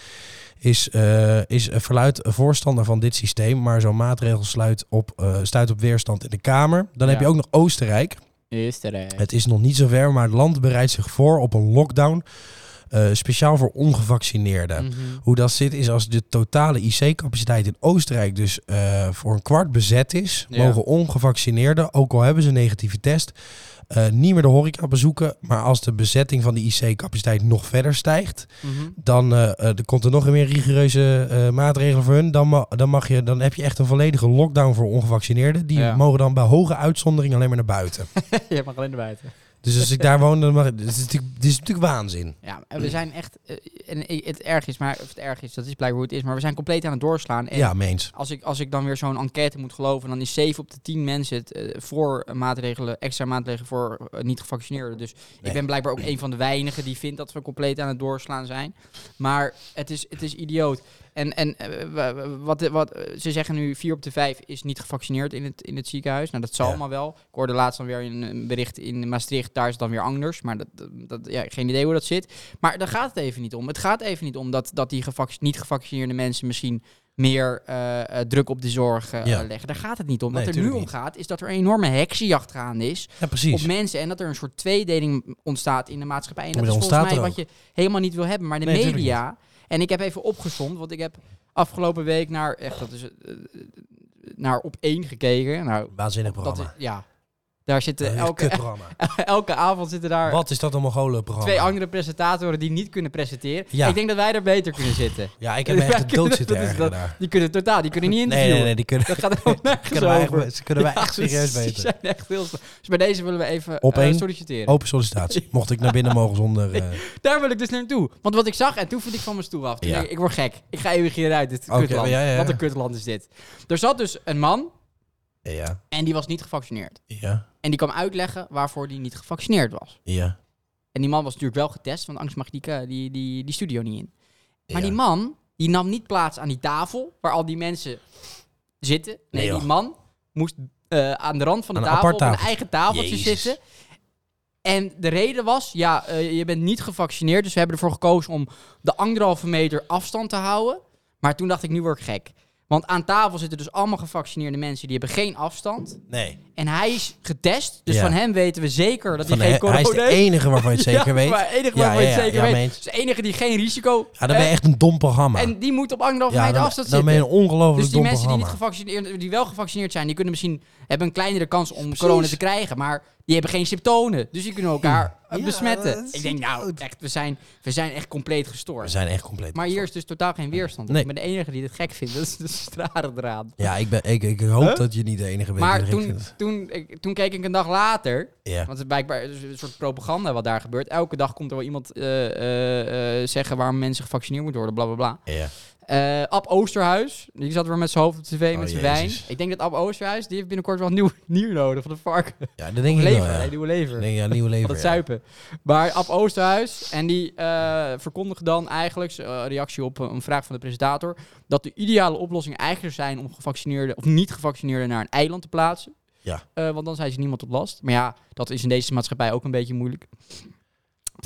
S2: is, eh is eh, verluid een voorstander van dit systeem. Maar zo'n maatregel sluit op, eh, stuit op weerstand in de Kamer. Dan heb
S1: Ja.
S2: je ook nog Oostenrijk.
S1: Oostenrijk.
S2: Het is nog niet zover, maar het land bereidt zich voor op een lockdown. eh, speciaal voor ongevaccineerden.
S1: Mhm.
S2: Hoe dat zit is als de totale IC-capaciteit in Oostenrijk dus eh, voor een kwart bezet is,
S1: Ja.
S2: mogen ongevaccineerden, ook al hebben ze een negatieve test, eh, niet meer de horeca bezoeken. Maar als de bezetting van de IC-capaciteit nog verder stijgt,
S1: Mhm.
S2: dan eh, eh, er komt er nog een meer rigoureuze eh, maatregelen voor hun. Dan, ma- dan, mag je, dan heb je echt een volledige lockdown voor ongevaccineerden. Die
S1: Ja.
S2: mogen dan bij hoge uitzondering alleen maar naar buiten.
S1: Je mag alleen naar buiten.
S2: dus als ik daar woon, dan mag ik- dit is natuurlijk, dit is natuurlijk waanzin.
S1: Ja, maar we zijn echt... eh, en ik- het erg is, maar... Of het erg is, dat is blijkbaar hoe het is. Maar we zijn compleet aan het doorslaan. En
S2: Ja, meens.
S1: als, ik, als ik dan weer zo'n enquête moet geloven... dan is 7 op de 10 mensen het, eh, voor maatregelen... extra maatregelen voor eh, niet-gevaccineerden. Dus
S2: Nee.
S1: ik ben blijkbaar ook een van de weinigen... die vindt dat we compleet aan het doorslaan zijn. Maar het is, het is idioot. En, en eh, wa- wa- wat, wat, eh, ze zeggen nu, 4 op de 5 is niet gevaccineerd in het, in het ziekenhuis. Nou, dat zal
S2: Ja.
S1: allemaal wel. Ik hoorde laatst dan weer in een bericht in Maastricht, daar is het dan weer anders. Maar dat, dat, dat- ja, geen idee hoe dat zit. Maar daar gaat het even niet om. Het gaat even niet om dat, dat die gevac- niet gevaccineerde mensen misschien meer eh, eh, druk op de zorg eh,
S2: Ja.
S1: leggen. Daar gaat het niet om.
S2: Nee,
S1: Wat er nu
S2: tuurlijk
S1: om
S2: niet.
S1: gaat, is dat er een enorme heksenjacht gaande is
S2: Ja, precies.
S1: op mensen. En dat er een soort tweedeling ontstaat in de maatschappij. En dat
S2: Maar
S1: is
S2: dat
S1: volgens mij
S2: ontstaat
S1: wat je helemaal niet wil hebben. Maar de
S2: Nee, tuurlijk
S1: media... En ik heb even opgezond, want ik heb afgelopen week naar... Echt, dat is... eh, naar op één gekeken. Nou,
S2: Waanzinnig
S1: dat is...
S2: programma.
S1: Ja. Daar
S2: Dat
S1: zitten
S2: is
S1: elke,
S2: programma.
S1: elke avond zitten daar
S2: Wat is dat een mogolen programma?
S1: twee andere presentatoren die niet kunnen presenteren.
S2: Ja.
S1: Ik denk dat wij er beter kunnen zitten.
S2: Ja, ik heb me
S1: Wij
S2: echt
S1: kunnen-
S2: dood zitten
S1: dat is
S2: ergeren
S1: dat-
S2: daar.
S1: Die kunnen totaal, die kunnen niet
S2: Nee,
S1: interviewen.
S2: nee, nee, die kunnen,
S1: Dat gaat er helemaal nergens
S2: kunnen wij
S1: over.
S2: echt, ze kunnen wij
S1: Ja,
S2: echt serieus
S1: ze- Ze
S2: beter.
S1: zijn echt heel slecht. Dus bij deze willen we even
S2: Op
S1: eh,
S2: één. Oh,
S1: solliciteren.
S2: Open sollicitatie. Mocht ik naar binnen mogen zonder... eh,
S1: Daar wil ik dus naartoe. Want wat ik zag, en toen viel ik van mijn stoel af. Toen
S2: Ja.
S1: dacht ik, ik word gek. Ik ga eeuwig hieruit, dit
S2: Oké,
S1: kutland.
S2: ja, ja, ja.
S1: Wat een kutland is dit. Er zat dus een man
S2: eh, ja,
S1: en die was niet gevaccineerd.
S2: ja,
S1: En die kwam uitleggen waarvoor die niet gevaccineerd was.
S2: ja.
S1: En die man was natuurlijk wel getest, want angst mag die, eh, die, die, die studio niet in. Maar
S2: ja.
S1: die man, die nam niet plaats aan die tafel waar al die mensen zitten. Nee,
S2: Nee, joh.
S1: die man moest eh, aan de rand van de
S2: Aan een
S1: tafel,
S2: apart
S1: op een
S2: tafeltje.
S1: eigen tafeltje
S2: Jezus.
S1: zitten. En de reden was, ja, eh, je bent niet gevaccineerd. Dus we hebben ervoor gekozen om de anderhalve meter afstand te houden. Maar toen dacht ik, nu word ik gek. Want aan tafel zitten dus allemaal gevaccineerde mensen. Die hebben geen afstand.
S2: Nee.
S1: En hij is getest. Dus
S2: Ja.
S1: van hem weten we zeker dat
S2: Van
S1: hij geen
S2: hij, hij
S1: corona
S2: is de
S1: heeft.
S2: enige waarvan je het zeker
S1: Ja,
S2: weet.
S1: Maar enige
S2: Ja,
S1: waarvan je
S2: ja,
S1: het
S2: ja,
S1: zeker
S2: ja,
S1: weet.
S2: meent.
S1: Dus de enige die geen risico...
S2: Ja, dan ben je
S1: eh,
S2: echt een dom programma.
S1: En die moet op anderhalve
S2: ja,
S1: meter
S2: dan,
S1: afstand
S2: dan
S1: zitten.
S2: ben je een ongelooflijk
S1: Dus die
S2: dom
S1: mensen die,
S2: programma.
S1: niet gevaccineerd, die wel gevaccineerd zijn, die kunnen misschien hebben een kleinere kans om corona te krijgen, maar die hebben geen symptomen. Dus die kunnen elkaar eh,
S2: Ja,
S1: besmetten.
S2: dat is-
S1: Ik denk, nou, echt, we zijn, we zijn echt compleet
S2: We
S1: gestoord.
S2: zijn echt compleet.
S1: Maar hier is dus totaal geen weerstand.
S2: Nee.
S1: Ik ben de enige die dit gek vindt. Dat is de strare draad.
S2: Ja, ik, ben, ik, ik hoop dat je niet de enige bent. die
S1: Maar
S2: er gek
S1: toen,
S2: vindt.
S1: toen, ik, toen keek ik een dag later.
S2: Ja.
S1: Want het is blijkbaar het is een soort propaganda wat daar gebeurt. Elke dag komt er wel iemand eh, eh, eh, zeggen waarom mensen gevaccineerd moeten worden, bla bla bla.
S2: Ja.
S1: Eh Ab Oosterhuis, die zat weer met zijn hoofd op tv
S2: Oh,
S1: met zijn wijn.
S2: Jezus.
S1: Ik denk dat Ab Oosterhuis, die heeft binnenkort wel nieuw, nieuw nodig van de varken.
S2: ja, dat denk ik
S1: lever,
S2: wel. Ja.
S1: hè, nieuwe lever.
S2: Ik denk, ja, nieuwe leven.
S1: van het
S2: ja.
S1: zuipen. Maar Ab Oosterhuis, en die eh verkondigde dan eigenlijk, eh, reactie op een vraag van de presentator, dat de ideale oplossing eigenlijk zou zijn om gevaccineerden of niet gevaccineerden naar een eiland te plaatsen.
S2: Ja.
S1: Eh, want dan zijn ze niemand op last. Maar ja, dat is in deze maatschappij ook een beetje moeilijk.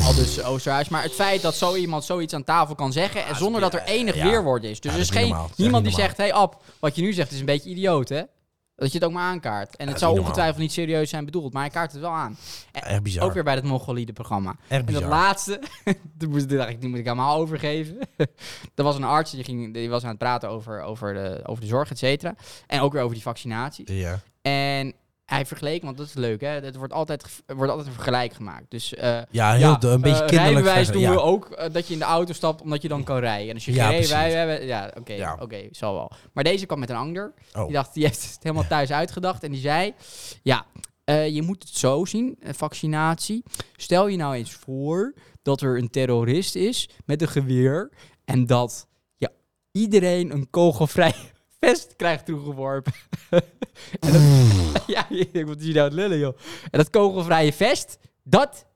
S1: Al dus Oosterhuis. Maar het feit dat zo iemand zoiets aan tafel kan zeggen. En zonder dat er enig
S2: ja.
S1: weerwoord is. Dus
S2: Ja, dat
S1: er is
S2: is niet
S1: geen,
S2: normaal. Dat is
S1: niemand
S2: echt
S1: die
S2: niet
S1: zegt: hé hey, Ab, wat je nu zegt is een beetje idioot, hè? Dat je het ook maar aankaart. En het
S2: is niet
S1: zou
S2: normaal.
S1: ongetwijfeld niet serieus zijn bedoeld. Maar hij kaart het wel aan. En
S2: Echt bizar.
S1: ook weer bij dat Mongoliede-programma.
S2: Echt
S1: En dat
S2: bizar.
S1: laatste, toen moest, toen dacht ik, die moet ik helemaal overgeven. er was een arts, die, ging, die was aan het praten over, over, de, over de zorg, et cetera. En ook weer over die vaccinatie.
S2: Ja.
S1: En hij vergeleek, want dat is leuk, hè. Het wordt altijd, ge- er wordt altijd een vergelijk gemaakt. Dus eh,
S2: Ja, heel, de- een beetje
S1: eh,
S2: kinderlijk.
S1: Rijbewijs
S2: verge-
S1: doen
S2: ja.
S1: we ook eh, dat je in de auto stapt, omdat je dan kan rijden. En als je
S2: Ja,
S1: geen rijbewijs
S2: precies.
S1: hebt, ja, oké,
S2: Ja.
S1: oké, zal wel. Maar deze kwam met een ander.
S2: Oh.
S1: Die dacht, die heeft het helemaal thuis uitgedacht. En die zei, ja, eh, je moet het zo zien, eh, vaccinatie. Stel je nou eens voor dat er een terrorist is met een geweer en dat ja, iedereen een kogelvrij vest krijgt toegeworpen. en dat,
S2: Hmm.
S1: ja, ik denk, wat is hier nou het lullen, joh. En dat kogelvrije vest, dat,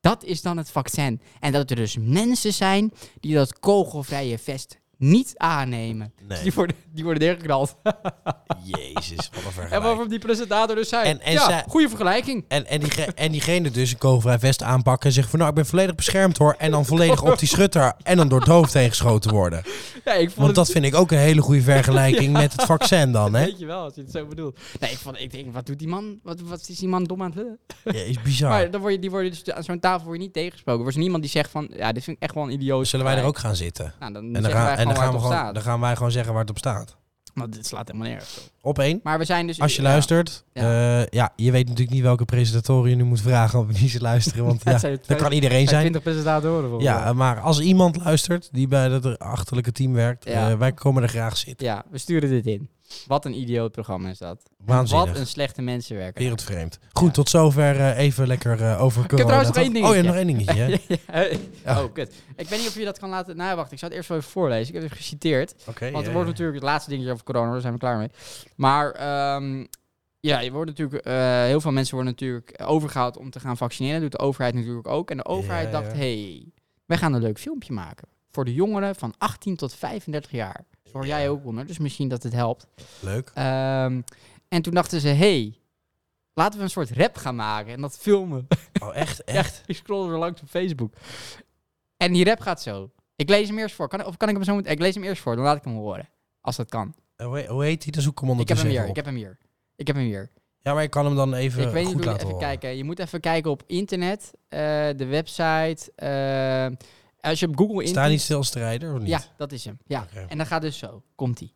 S1: dat is dan het vaccin. En dat er dus mensen zijn die dat kogelvrije vest niet aannemen.
S2: Nee.
S1: Dus die worden, die worden neergeknald.
S2: Jezus, wat een
S1: En
S2: vergelijking.
S1: waarvan die presentator dus zei,
S2: En- en
S1: ja,
S2: zij-
S1: goede vergelijking.
S2: En, en, diege- en diegene dus een kogelvrij vest aanpakken en zeggen van nou, ik ben volledig beschermd hoor. En dan volledig op die schutter en dan door het hoofd heen geschoten worden.
S1: Ja, ik vond
S2: Want dat vind ik ook een hele goede vergelijking met het vaccin dan, hè?
S1: Weet je wel, als je het zo bedoelt. Nee, ik, vond, ik denk, wat doet die man? Wat, wat is die man dom aan het lullen?
S2: Ja, is bizar.
S1: Maar dan word je, die worden dus, aan zo'n tafel word je niet tegengesproken. Er was niemand die zegt van, ja, dit vind ik echt wel een idioot.
S2: Zullen wij er ook gaan zitten?
S1: Nou, dan,
S2: En dan,
S1: zeggen
S2: gaan,
S1: wij
S2: en dan,
S1: gewoon waar
S2: gaan,
S1: het
S2: we
S1: op
S2: gewoon,
S1: staat.
S2: dan gaan wij gewoon zeggen waar het op staat.
S1: Want dit slaat helemaal nergens op.
S2: Op één.
S1: Maar we zijn dus...
S2: Als je
S1: ja.
S2: luistert, eh, ja.
S1: Ja.
S2: je weet natuurlijk niet welke presentatoren je nu moet vragen om niet te luisteren. Want
S1: Ja,
S2: ja,
S1: het zijn
S2: dat kan iedereen
S1: zijn
S2: zijn.
S1: 20 presentatoren voor.
S2: Ja, um- maar als iemand luistert die bij dat achterlijke team werkt,
S1: Ja.
S2: eh, wij komen er graag zitten.
S1: ja, we sturen dit in. Wat een idioot programma is dat.
S2: Waanzinnig.
S1: Wat een slechte mensenwerker.
S2: Wereldvreemd. Goed, tot zover eh, even lekker eh, over corona.
S1: trouwens nog
S2: toch?
S1: één
S2: Oh ja,
S1: dingetje.
S2: nog één dingetje. hè?
S1: Ja. Oh, kut. Ik weet niet of je dat kan laten... Nou, wacht, ik zou het eerst wel even voorlezen. Ik heb het geciteerd.
S2: Oké.
S1: Want
S2: ja,
S1: er wordt
S2: ja.
S1: natuurlijk het laatste dingetje over corona, daar zijn we klaar mee. Maar ehm, ja, je wordt natuurlijk, eh, heel veel mensen worden natuurlijk overgehaald om te gaan vaccineren. Dat doet de overheid natuurlijk ook. En de overheid
S2: Ja,
S1: dacht,
S2: ja.
S1: hey, wij gaan een leuk filmpje maken. Voor de jongeren van 18 tot 35 jaar. Daar hoor jij ook onder, dus misschien dat het helpt.
S2: Leuk.
S1: Ehm, en toen dachten ze, hey, laten we een soort rap gaan maken en dat filmen.
S2: Oh, echt,
S1: Ja,
S2: echt.
S1: ik scroll er langs op Facebook. En die rap gaat zo. Ik lees hem eerst voor. Kan, of kan ik hem zo meteen? Ik lees hem eerst voor, dan laat ik hem horen. Als dat kan.
S2: Eh, Hoe, hoe heet die? Dan zoek ik hem
S1: Ik heb
S2: ondertussen
S1: hem hier,
S2: even
S1: ik heb hem hier. Ik heb hem hier.
S2: op. Ja, maar ik kan hem dan even
S1: ik weet niet
S2: goed
S1: hoe je
S2: laten
S1: even
S2: horen.
S1: kijken. Je moet even kijken op internet, eh, de website. eh, als je op Google
S2: Sta niet
S1: intypt-
S2: stil, strijder, of niet?
S1: Ja, dat is hem. Ja.
S2: Oké.
S1: En dan gaat dus zo. Komt ie.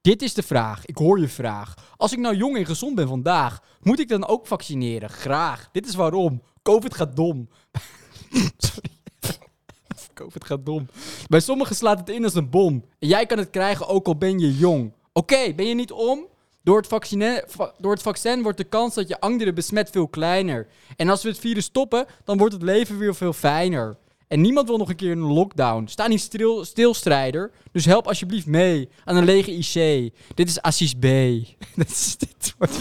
S1: Dit is de vraag. Ik hoor je vraag. Als ik nou jong en gezond ben vandaag, moet ik dan ook vaccineren? Graag. Dit is waarom. COVID gaat dom. Sorry. COVID gaat dom. Bij sommigen slaat het in als een bom. En jij kan het krijgen ook al ben je jong. Oké, ben je niet om? Door het, vaccine- va- door het vaccin wordt de kans dat je anderen besmet veel kleiner. En als we het virus stoppen, dan wordt het leven weer veel fijner. En niemand wil nog een keer een lockdown. Sta niet stil, stilstrijder. Dus help alsjeblieft mee aan een lege IC. Dit is Assis B. dit, is, dit, wordt,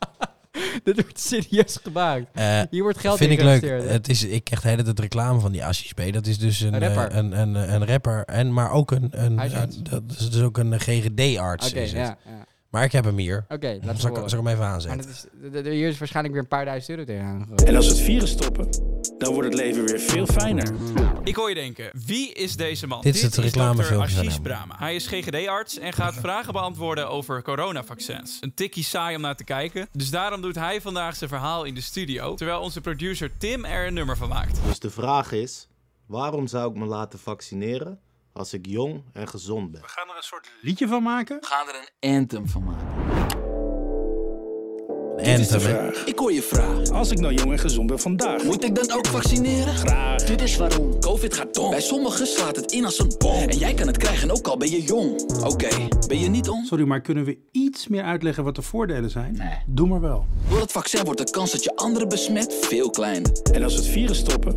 S1: dit wordt serieus gemaakt.
S2: Eh,
S1: Hier wordt geld
S2: vind
S1: in
S2: ik leuk.
S1: geïnvesteerd.
S2: Het is, ik krijg de hele tijd reclame van die Assis B. Dat is dus een,
S1: Een
S2: eh,
S1: rapper.
S2: Een, een, een rapper en maar ook een, een,
S1: Huisarts.
S2: een- dat is dus ook een GGD-arts.
S1: Oké,
S2: is het.
S1: ja, ja.
S2: Maar ik heb hem hier.
S1: Oké,
S2: Zal
S1: laten we
S2: ik, zal
S1: horen.
S2: ik hem even
S1: Maar
S2: aanzetten?
S1: dat is, d- d- hier is waarschijnlijk weer een paar duizend euro tegenaan. gegooid.
S4: En als we het virus stoppen, dan wordt het leven weer veel fijner.
S5: Ik hoor je denken, wie is deze man?
S2: Dit is het reclamefilmpje
S5: Dit
S2: van
S5: is Ashish
S2: hem.
S5: Brahma. Hij is GGD-arts en gaat vragen beantwoorden over coronavaccins. Een tikkie saai om naar te kijken. Dus daarom doet hij vandaag zijn verhaal in de studio. Terwijl onze producer Tim er een nummer van maakt.
S6: Dus de vraag is: waarom zou ik me laten vaccineren als ik jong en gezond ben?
S7: gaan er een soort liedje van maken.
S8: We gaan er een anthem van maken.
S2: En
S4: Dit is de vraag.
S8: Ik hoor je vraag.
S4: Als ik nou jong en gezond ben vandaag, moet
S8: Moet ik dan ook vaccineren?
S4: Graag.
S8: Dit is waarom. Covid gaat dom. Bij sommigen slaat het in als een bom. En jij kan het krijgen, ook al ben je jong. Oké, ben je niet om?
S7: Sorry, maar kunnen we iets meer uitleggen wat de voordelen zijn? Doe maar wel.
S8: Door het vaccin wordt de kans dat je anderen besmet veel kleiner.
S4: en als we het virus stoppen,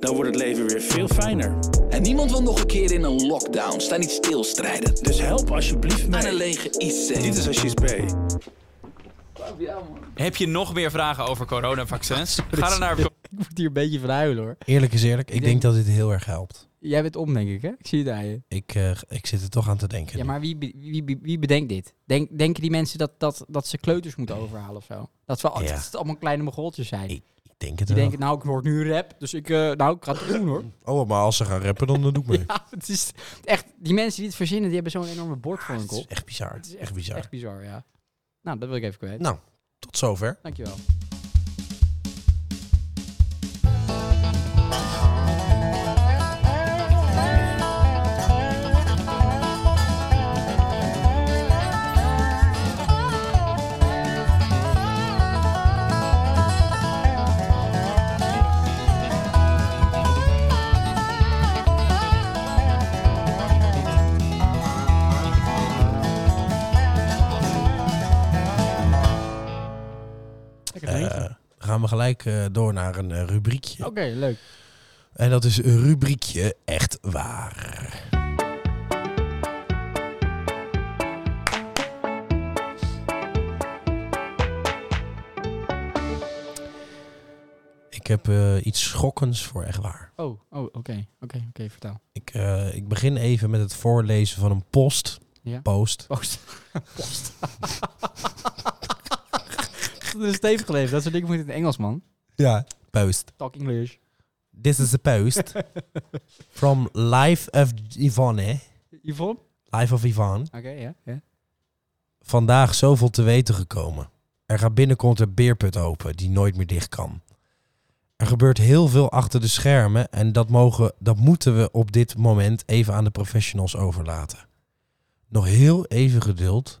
S4: dan wordt het leven weer veel fijner.
S8: En niemand wil nog een keer in een lockdown. Sta niet stil, strijden.
S4: Dus help alsjeblieft
S8: Aan een
S4: mee.
S8: lege IC.
S4: Dit is Ashish B.
S5: Heb je nog meer vragen over coronavaccins? Ga dan naar...
S1: Ik moet hier een beetje van huilen hoor.
S2: Eerlijk is eerlijk, ik denk
S1: denk-
S2: dat dit heel erg helpt.
S1: Jij bent om, denk ik, hè? Ik zie het aan je.
S2: Ik, eh, ik zit er toch aan te denken.
S1: Ja,
S2: nu.
S1: maar wie, be- wie, be- wie bedenkt dit? Denk, denken die mensen dat, dat, dat ze kleuters moeten overhalen of zo? Dat, ze, wel-
S2: Ja.
S1: dat het allemaal kleine mogoltjes zijn.
S2: Ik
S1: Die
S2: Ik denk het wel.
S1: denken, nou, ik hoor nu rap, dus ik, eh, nou, ik ga het doen hoor.
S2: Oh, maar als ze gaan rappen, dan dan doe ik mee.
S1: Ja, het is echt, die mensen die het verzinnen, die hebben zo'n enorme bord voor hun
S2: Het is
S1: kop.
S2: echt bizar. Het is echt bizar.
S1: Echt bizar, ja. Nou, dat wil ik even kwijt.
S2: Nou, tot zover.
S1: Dankjewel. Lekker
S2: Eh,
S1: drinken.
S2: dan gaan we gelijk eh, door naar een eh, rubriekje.
S1: Oké, leuk.
S2: En dat is een rubriekje Echt Waar. Ik heb eh, iets schokkends voor Echt Waar.
S1: Oh, oh oké. Oké, oké, vertel.
S2: Ik, eh, ik begin even met het voorlezen van een post.
S1: Ja.
S2: Post.
S1: Post. Post. dat is stevig geleefd. Dat soort dingen moet in het Engels, man.
S2: Ja. Post.
S1: Talk English.
S2: This is a post. From Life of Yvonne.
S1: Yvonne? Oké,
S2: Life of Yvonne.
S1: ja. ja.
S2: Vandaag zoveel te weten gekomen. Er gaat binnenkort een beerput open die nooit meer dicht kan. Er gebeurt heel veel achter de schermen en dat, mogen, dat moeten we op dit moment even aan de professionals overlaten. Nog heel even geduld,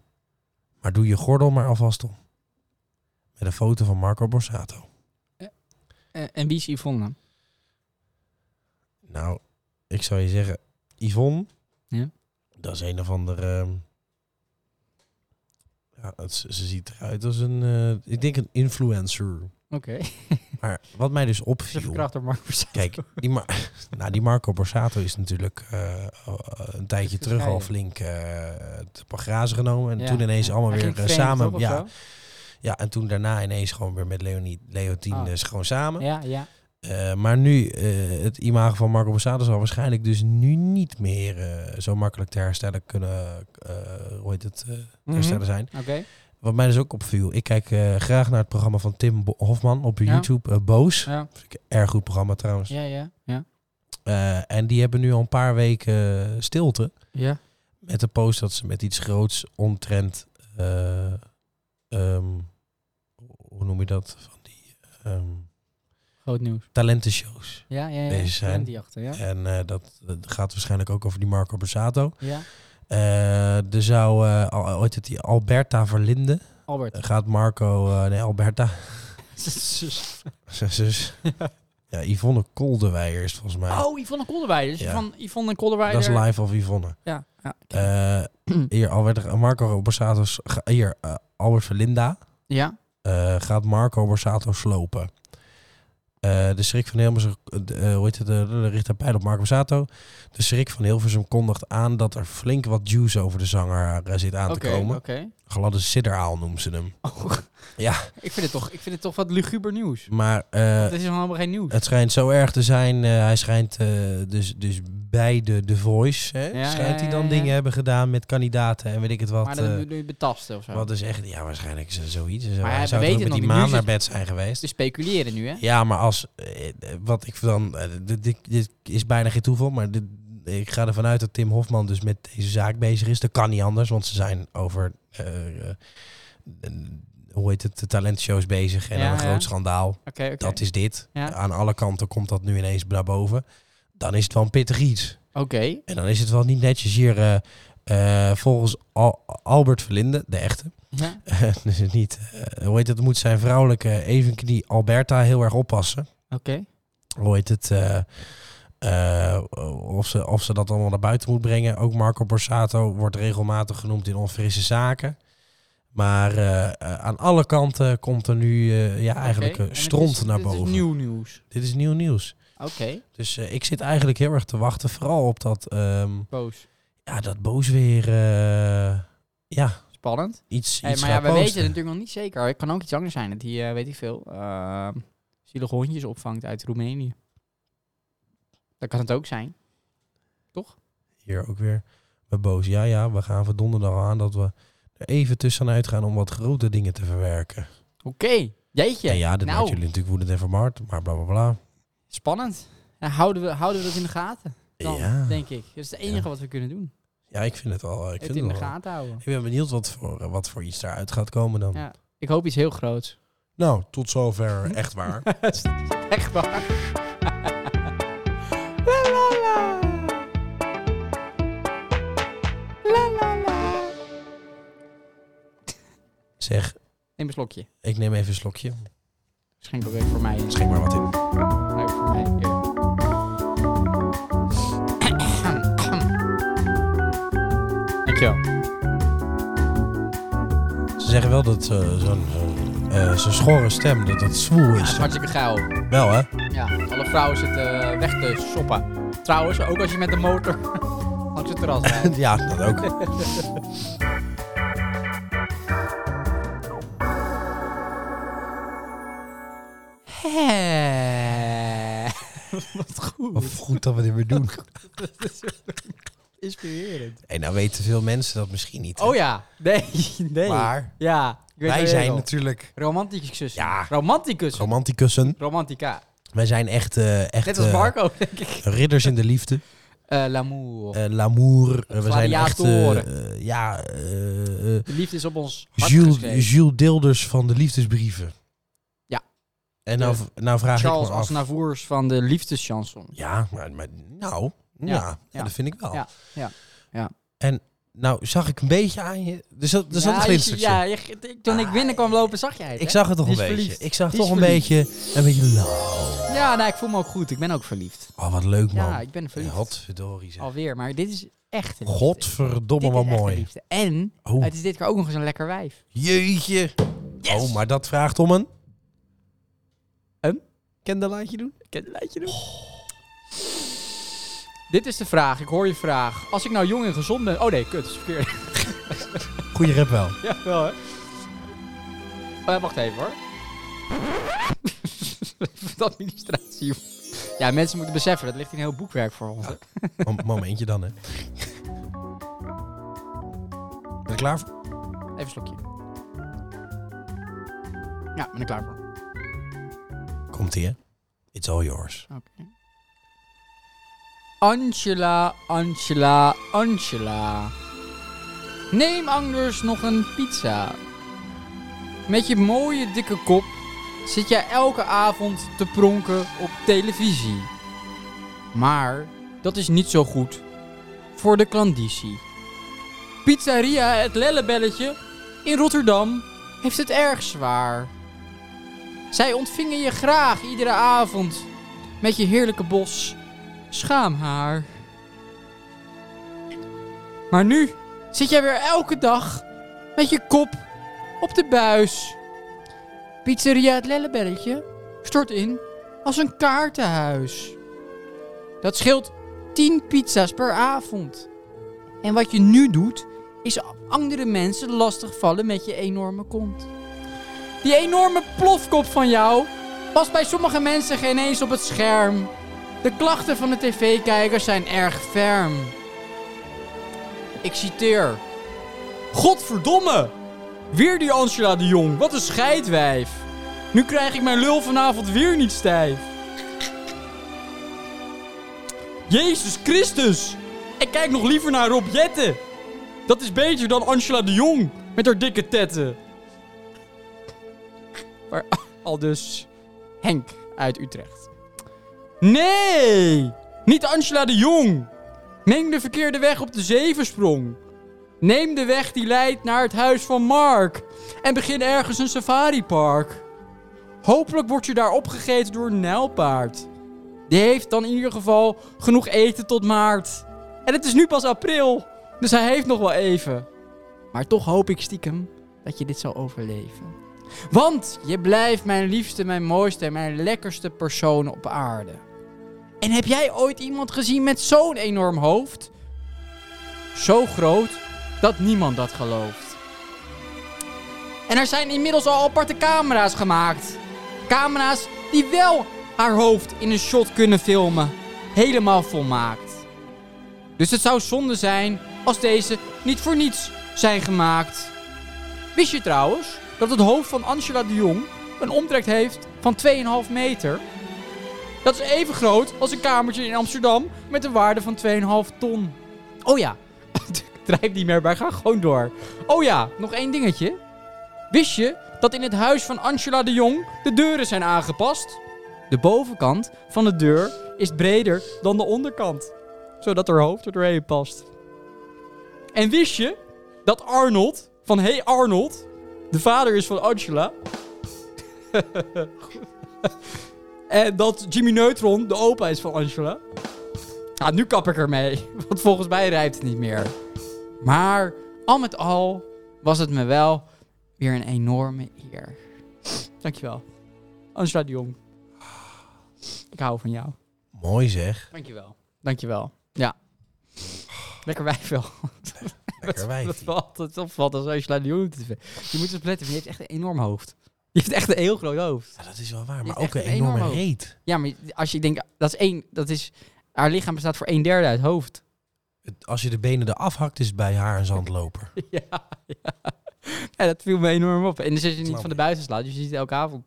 S2: maar doe je gordel maar alvast om. Met een foto van Marco Borsato.
S1: Eh, en wie is Yvonne dan?
S2: Nou, ik zou je zeggen, Yvonne,
S1: Ja.
S2: dat is een of andere... ehm, ja, het- ze ze ziet eruit als een, eh, ik denk een influencer.
S1: Oké. Ze
S2: Maar wat mij dus opviel.
S1: verkracht door Mark Borsato.
S2: Kijk, die, Mar- nou, die Marco Borsato is natuurlijk eh, eh, een tijdje terug al
S1: gescheiden.
S2: flink eh te grazen genomen. En
S1: Ja,
S2: toen ineens
S1: ja.
S2: allemaal
S1: Hij
S2: weer
S1: ging
S2: eh,
S1: vreemd,
S2: samen.
S1: toch, of
S2: ja,
S1: zo?
S2: ja, en toen daarna ineens gewoon weer met Leonie, Leontien
S1: Ah.
S2: dus gewoon samen.
S1: Ja, ja.
S2: Eh, maar nu, eh, het imago van Marco Borsato zal waarschijnlijk dus nu niet meer eh, zo makkelijk te herstellen kunnen. eh hoe heet het? eh,
S1: Mhm.
S2: herstellen zijn.
S1: Oké.
S2: Wat mij dus ook opviel. Ik kijk eh, graag naar het programma van Tim Bo- Hofman op
S1: Ja.
S2: YouTube. eh, Boos.
S1: Ja.
S2: Vind ik een erg goed programma trouwens.
S1: ja, ja, ja.
S2: Eh, en die hebben nu al een paar weken eh, stilte.
S1: Ja.
S2: Met de post dat ze met iets groots omtrent. eh, ehm, hoe noem je dat? Van die ehm,
S1: Groot nieuws.
S2: talentenshows.
S1: Ja, ja, ja.
S2: Deze
S1: Ik ken
S2: zijn-
S1: Die achter, ja.
S2: En eh, dat, dat gaat waarschijnlijk ook over die Marco Borsato.
S1: Ja.
S2: Eh, er zou eh, al- ooit het die Alberta Verlinde.
S1: Albert.
S2: Gaat Marco. eh, nee, Alberta.
S1: Zus.
S2: Zijn zus. Ja, Yvonne Koldewijer is volgens mij.
S1: oh, Yvonne Kolderweijer. Dus
S2: Ja.
S1: van Yvonne
S2: dat
S1: Kolderweijer.
S2: is live of Yvonne.
S1: Ja. Ja.
S2: Eh, hier, Albert, Marco Borsato. s- ga- Hier, eh, Albert Verlinda.
S1: ja.
S2: eh, gaat Marco Borsato slopen. Eh, de schrik van Hilversum, eh, hoe heet het, eh, richt haar pijl op Marco Borsato. De schrik van Hilversum kondigt aan dat er flink wat juice over de zanger eh, zit aan
S1: Oké,
S2: te komen.
S1: oké.
S2: Gladde sidderaal noemen ze hem. Ja,
S1: Ik vind, het toch, ik vind het toch wat luguber nieuws.
S2: maar eh,
S1: Dit is helemaal geen nieuws.
S2: het schijnt zo erg te zijn. eh, hij schijnt eh, dus, dus bij de The Voice. Hè,
S1: Ja,
S2: schijnt hij
S1: ja,
S2: dan
S1: ja, ja.
S2: dingen hebben gedaan met kandidaten en weet ik het wat.
S1: maar
S2: eh,
S1: dat doe je betasten of zo.
S2: wat is echt, ja, waarschijnlijk is het zoiets. en Zo.
S1: Maar
S2: hij
S1: we
S2: zou toch
S1: weten
S2: ook met
S1: het
S2: die
S1: nog niet. Nu Dus-
S2: maan
S1: is
S2: naar
S1: het-
S2: bed zijn geweest.
S1: Te speculeren nu, hè?
S2: Ja, maar als eh, eh, wat ik dan. eh, dit, dit- dit is bijna geen toeval, maar dit, ik ga ervan uit dat Tim Hofman dus met deze zaak bezig is. Dat kan niet anders, want ze zijn over. eh, eh, hoe heet het? De talentshows bezig en
S1: Ja,
S2: dan een
S1: ja.
S2: groot schandaal.
S1: Oké, oké.
S2: Dat is dit.
S1: Ja.
S2: Aan alle kanten komt dat nu ineens naar boven. Dan is het wel een pittig iets.
S1: Oké.
S2: En dan is het wel niet netjes hier. eh, eh, volgens Al- Albert Verlinde, de echte,
S1: Ja.
S2: dus het niet, eh, hoe heet het, moet zijn vrouwelijke evenknie Alberta heel erg oppassen.
S1: Oké.
S2: Hoe heet het, eh, eh, of, ze, of ze dat allemaal naar buiten moet brengen. Ook Marco Borsato wordt regelmatig genoemd in onfrisse zaken. Maar eh, eh, aan alle kanten komt er nu eh, ja, eigenlijk
S1: Oké. En
S2: een
S1: het
S2: stront
S1: is-
S2: naar
S1: dit is
S2: boven.
S1: nieuw nieuws.
S2: Dit is nieuw nieuws.
S1: Oké.
S2: Dus eh, ik zit eigenlijk heel erg te wachten, vooral op dat, ehm,
S1: Boos.
S2: ja, dat boos weer eh, ja,
S1: Spannend.
S2: iets,
S1: Hey,
S2: iets
S1: maar ja,
S2: gaat
S1: we weten het
S2: posten.
S1: natuurlijk nog niet zeker. Het kan ook iets anders zijn. Dat hij, eh, weet ik veel, eh zielige hondjes opvangt uit Roemenië. Dat kan het ook zijn.
S2: Hier ook weer bij boos. Ja, ja, we gaan van donderdag aan dat we er even tussenuit gaan om wat grote dingen te verwerken.
S1: Oké, jeetje.
S2: Ja, ja, dat
S1: nou,
S2: weten jullie natuurlijk woedend en vermaard, maar bla bla bla.
S1: spannend. Nou, houden, we, houden we dat in de gaten, dan,
S2: Ja.
S1: denk ik. Dat is het enige wat we kunnen doen.
S2: ja, ik vind het al. Ik,
S1: het
S2: vind
S1: in de
S2: het wel.
S1: gaten houden.
S2: ik ben benieuwd wat voor, eh, wat voor iets daaruit gaat komen dan.
S1: Ja. Ik hoop iets heel groots.
S2: Nou, tot zover. Echt waar.
S1: Echt waar.
S2: zeg,
S1: Neem een slokje.
S2: ik neem even een slokje.
S1: Schenk ook even voor mij.
S2: Schenk maar wat in.
S1: Nou, voor mij hier. Dankjewel.
S2: Ze zeggen wel dat eh, zo'n zo'n, eh, zo'n schorre stem, dat dat zwoel
S1: Ja, het
S2: is.
S1: is hartstikke geil.
S2: Wel, hè?
S1: Ja, alle vrouwen zitten eh, weg te soppen. Trouwens, ook als je met de motor langs het terras rijdt.
S2: Ja, dat ook.
S1: Hè. Wat
S2: Wat
S1: goed.
S2: goed dat we dit weer doen.
S1: Inspirerend.
S2: En nou weten veel mensen dat misschien niet. hè?
S1: Oh ja. Nee, nee.
S2: Maar
S1: ja, ik weet
S2: wij
S1: het
S2: zijn
S1: wel.
S2: natuurlijk
S1: Romanticus.
S2: Ja.
S1: Romanticus.
S2: romanticussen.
S1: Romantica.
S2: Wij zijn echt, eh, echt
S1: Net als
S2: eh,
S1: Marco, denk ik.
S2: ridders in de liefde.
S1: Eh, L'amour.
S2: Eh, L'amour. Eh, we zijn echt... eh,
S1: Gladiatoren.
S2: eh, ja, eh, eh,
S1: de liefde is op ons hart geschreven.
S2: Jules, Jules Dilders van de liefdesbrieven.
S1: Ja.
S2: En nou, nou vraag
S1: Charles
S2: ik me af...
S1: Aznavours van de liefdeschanson.
S2: Ja, maar, maar nou... Ja,
S1: Ja,
S2: ja,
S1: ja.
S2: dat vind ik wel.
S1: Ja, ja, ja.
S2: En nou zag ik een beetje aan je... Er zat, er zat een
S1: je-
S2: glinstertje.
S1: Ja, je- ik- toen ik binnenkwam lopen zag jij het,
S2: Ik
S1: hè?
S2: zag het toch
S1: Die
S2: een
S1: is
S2: beetje.
S1: verliefd.
S2: Ik zag
S1: Die is
S2: toch een
S1: verliefd.
S2: beetje... Een beetje... lauw.
S1: Ja, nou, ik voel me ook goed. Ik ben ook verliefd.
S2: Oh, wat leuk, man.
S1: Ja, ik ben verliefd.
S2: Godverdorie, zeg.
S1: Alweer, maar dit is echt een liefde. Dit
S2: Godverdomme,
S1: is
S2: wat
S1: echt
S2: mooi.
S1: een liefde. En
S2: Oh.
S1: het is dit keer ook nog eens een lekker wijf.
S2: Jeetje. Oh, maar dat vraagt om een...
S1: Een?
S2: Kendelaatje doen?
S1: Kijk, laat je doen. Dit is de vraag. Ik hoor je vraag. Als ik nou jong en gezond ben... Oh nee, kut. Dat is verkeerd.
S2: Goeie rap wel.
S1: ja, wel hè. Eh, wacht even hoor. de administratie. Ja, mensen moeten beseffen. Dat ligt in een heel boekwerk voor ons. hè.
S2: Mom- Momentje dan, hè. Ben je klaar voor?
S1: Even een slokje. Ja, ben ik klaar voor.
S2: Komt ie, hè. It's all yours.
S1: Angela, Angela, Angela. Neem anders nog een pizza. Met je mooie dikke kop zit jij elke avond te pronken op televisie. Maar dat is niet zo goed voor de klandizie. Pizzeria Het Lellebelletje in Rotterdam heeft het erg zwaar. Zij ontvingen je graag iedere avond met je heerlijke bos schaamhaar. Maar nu zit jij weer elke dag met je kop op de buis. Pizzeria het Lellebelletje stort in als een kaartenhuis. Dat scheelt 10 pizza's per avond. En wat je nu doet, is andere mensen lastigvallen met je enorme kont. Die enorme plofkop van jou past bij sommige mensen geen eens op het scherm. De klachten van de tv-kijkers zijn erg ferm. Ik citeer. Godverdomme! Weer die Angela de Jong, wat een scheidwijf. Nu krijg ik mijn lul vanavond weer niet stijf. Jezus Christus! Ik kijk nog liever naar Rob Jetten. Dat is beter dan Angela de Jong met haar dikke tetten. Maar al dus Henk uit Utrecht. Nee! Niet Angela de Jong! Neem de verkeerde weg op de zevensprong. Neem de weg die leidt naar het huis van Mark. En begin ergens een safaripark. Hopelijk word je daar opgegeten door een nijlpaard. Die heeft dan in ieder geval genoeg eten tot maart. En het is nu pas april, dus hij heeft nog wel even. Maar toch hoop ik stiekem dat je dit zal overleven. Want je blijft mijn liefste, mijn mooiste en mijn lekkerste persoon op aarde. En heb jij ooit iemand gezien met zo'n enorm hoofd? Zo groot dat niemand dat gelooft. En er zijn inmiddels al aparte camera's gemaakt. Camera's die wel haar hoofd in een shot kunnen filmen. Helemaal volmaakt. Dus het zou zonde zijn als deze niet voor niets zijn gemaakt. Wist je trouwens dat het hoofd van Angela de Jong een omtrek heeft van 2,5 meter? Dat is even groot als een kamertje in Amsterdam met een waarde van 2,5 ton. Oh ja, ik drijf niet meer, maar ga gewoon door. Oh ja, nog één dingetje. Wist je dat in het huis van Angela de Jong de deuren zijn aangepast? De bovenkant van de deur is breder dan de onderkant, zodat haar hoofd er doorheen past. En wist je dat Arnold van Hey Arnold de vader is van Angela? en dat Jimmy Neutron de opa is van Angela? Nou, nu kap ik ermee, want volgens mij rijpt het niet meer. Maar al met al was het me wel weer een enorme eer. Dankjewel. Angela de Jong. Ik hou van jou.
S2: Mooi zeg.
S1: Dankjewel. Dankjewel. Ja. Lekker wijf wel.
S2: Lekker
S1: Dat
S2: wijf.
S1: valt altijd opvalt als Angela de Jong. op tv. Je moet eens letten, je heeft echt een enorm hoofd. Je heeft echt een heel groot hoofd.
S2: Ja, dat is wel waar,
S1: Die
S2: maar
S1: heeft
S2: ook een
S1: echt een enorm
S2: enorme
S1: hoofd.
S2: reet.
S1: Ja, maar als je denkt, dat is één, dat is, haar lichaam bestaat voor een derde uit hoofd.
S2: Het- Als je de benen eraf hakt, is het bij haar een zandloper.
S1: ja, ja. ja, dat viel me enorm op. En dus is je niet
S2: Snap
S1: van de
S2: ik.
S1: buis slaat, dus je ziet het elke avond.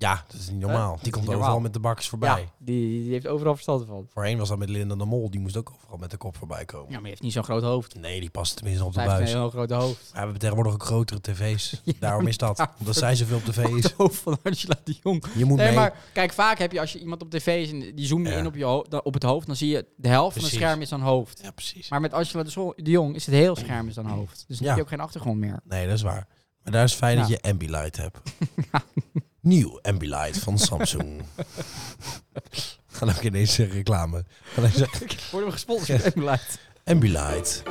S2: Ja, dat is niet
S1: Hè?
S2: normaal.
S1: Dat
S2: Die
S1: is
S2: komt
S1: niet
S2: overal
S1: normaal.
S2: met de bakjes
S1: Ja,
S2: voorbij.
S1: die, die heeft overal verstand van.
S2: Voorheen was dat met Linda de Mol. Die moest ook overal met de kop voorbij
S1: Ja,
S2: komen.
S1: maar je heeft niet zo'n groot hoofd.
S2: Nee, die past tenminste op de
S1: Hij heeft een
S2: buis.
S1: heel groot hoofd.
S2: We hebben tegenwoordig ook grotere tv's. Daarom is dat.
S1: daarvoor-
S2: Omdat zij zoveel op tv
S1: Het
S2: is.
S1: hoofd van Angela de Jong.
S2: Je moet
S1: Nee,
S2: mee.
S1: maar kijk, vaak heb je als je iemand op tv is en die zoomen
S2: Ja.
S1: in op, je ho- dan- op het hoofd, dan zie je de helft van
S2: Precies.
S1: het scherm is aan hoofd.
S2: Ja, precies.
S1: Maar met Angela de, Zo- de Jong is het heel scherm is aan hoofd. Dus dan
S2: Ja.
S1: heb je ook geen achtergrond meer.
S2: Nee, dat is waar. Maar daar is fijn dat
S1: Ja.
S2: je Ambilight hebt. Nieuw Ambilight van Samsung. Gaan ook ineens eh, reclame. Gaan even zeggen,
S1: Worden we gesponsord?
S2: Ambilight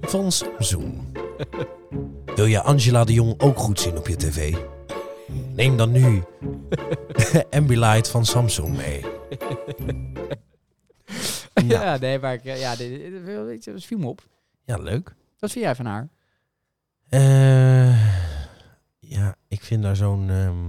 S2: van Samsung. Wil je Angela de Jong ook goed zien op je tv? Neem dan nu Ambilight van Samsung mee.
S1: Ja. ja, nee, maar ik, ja, dit, dit- dit- dit- dit viel me op.
S2: Ja, leuk.
S1: Wat vind jij van haar?
S2: Eh, ja, ik vind daar zo'n ehm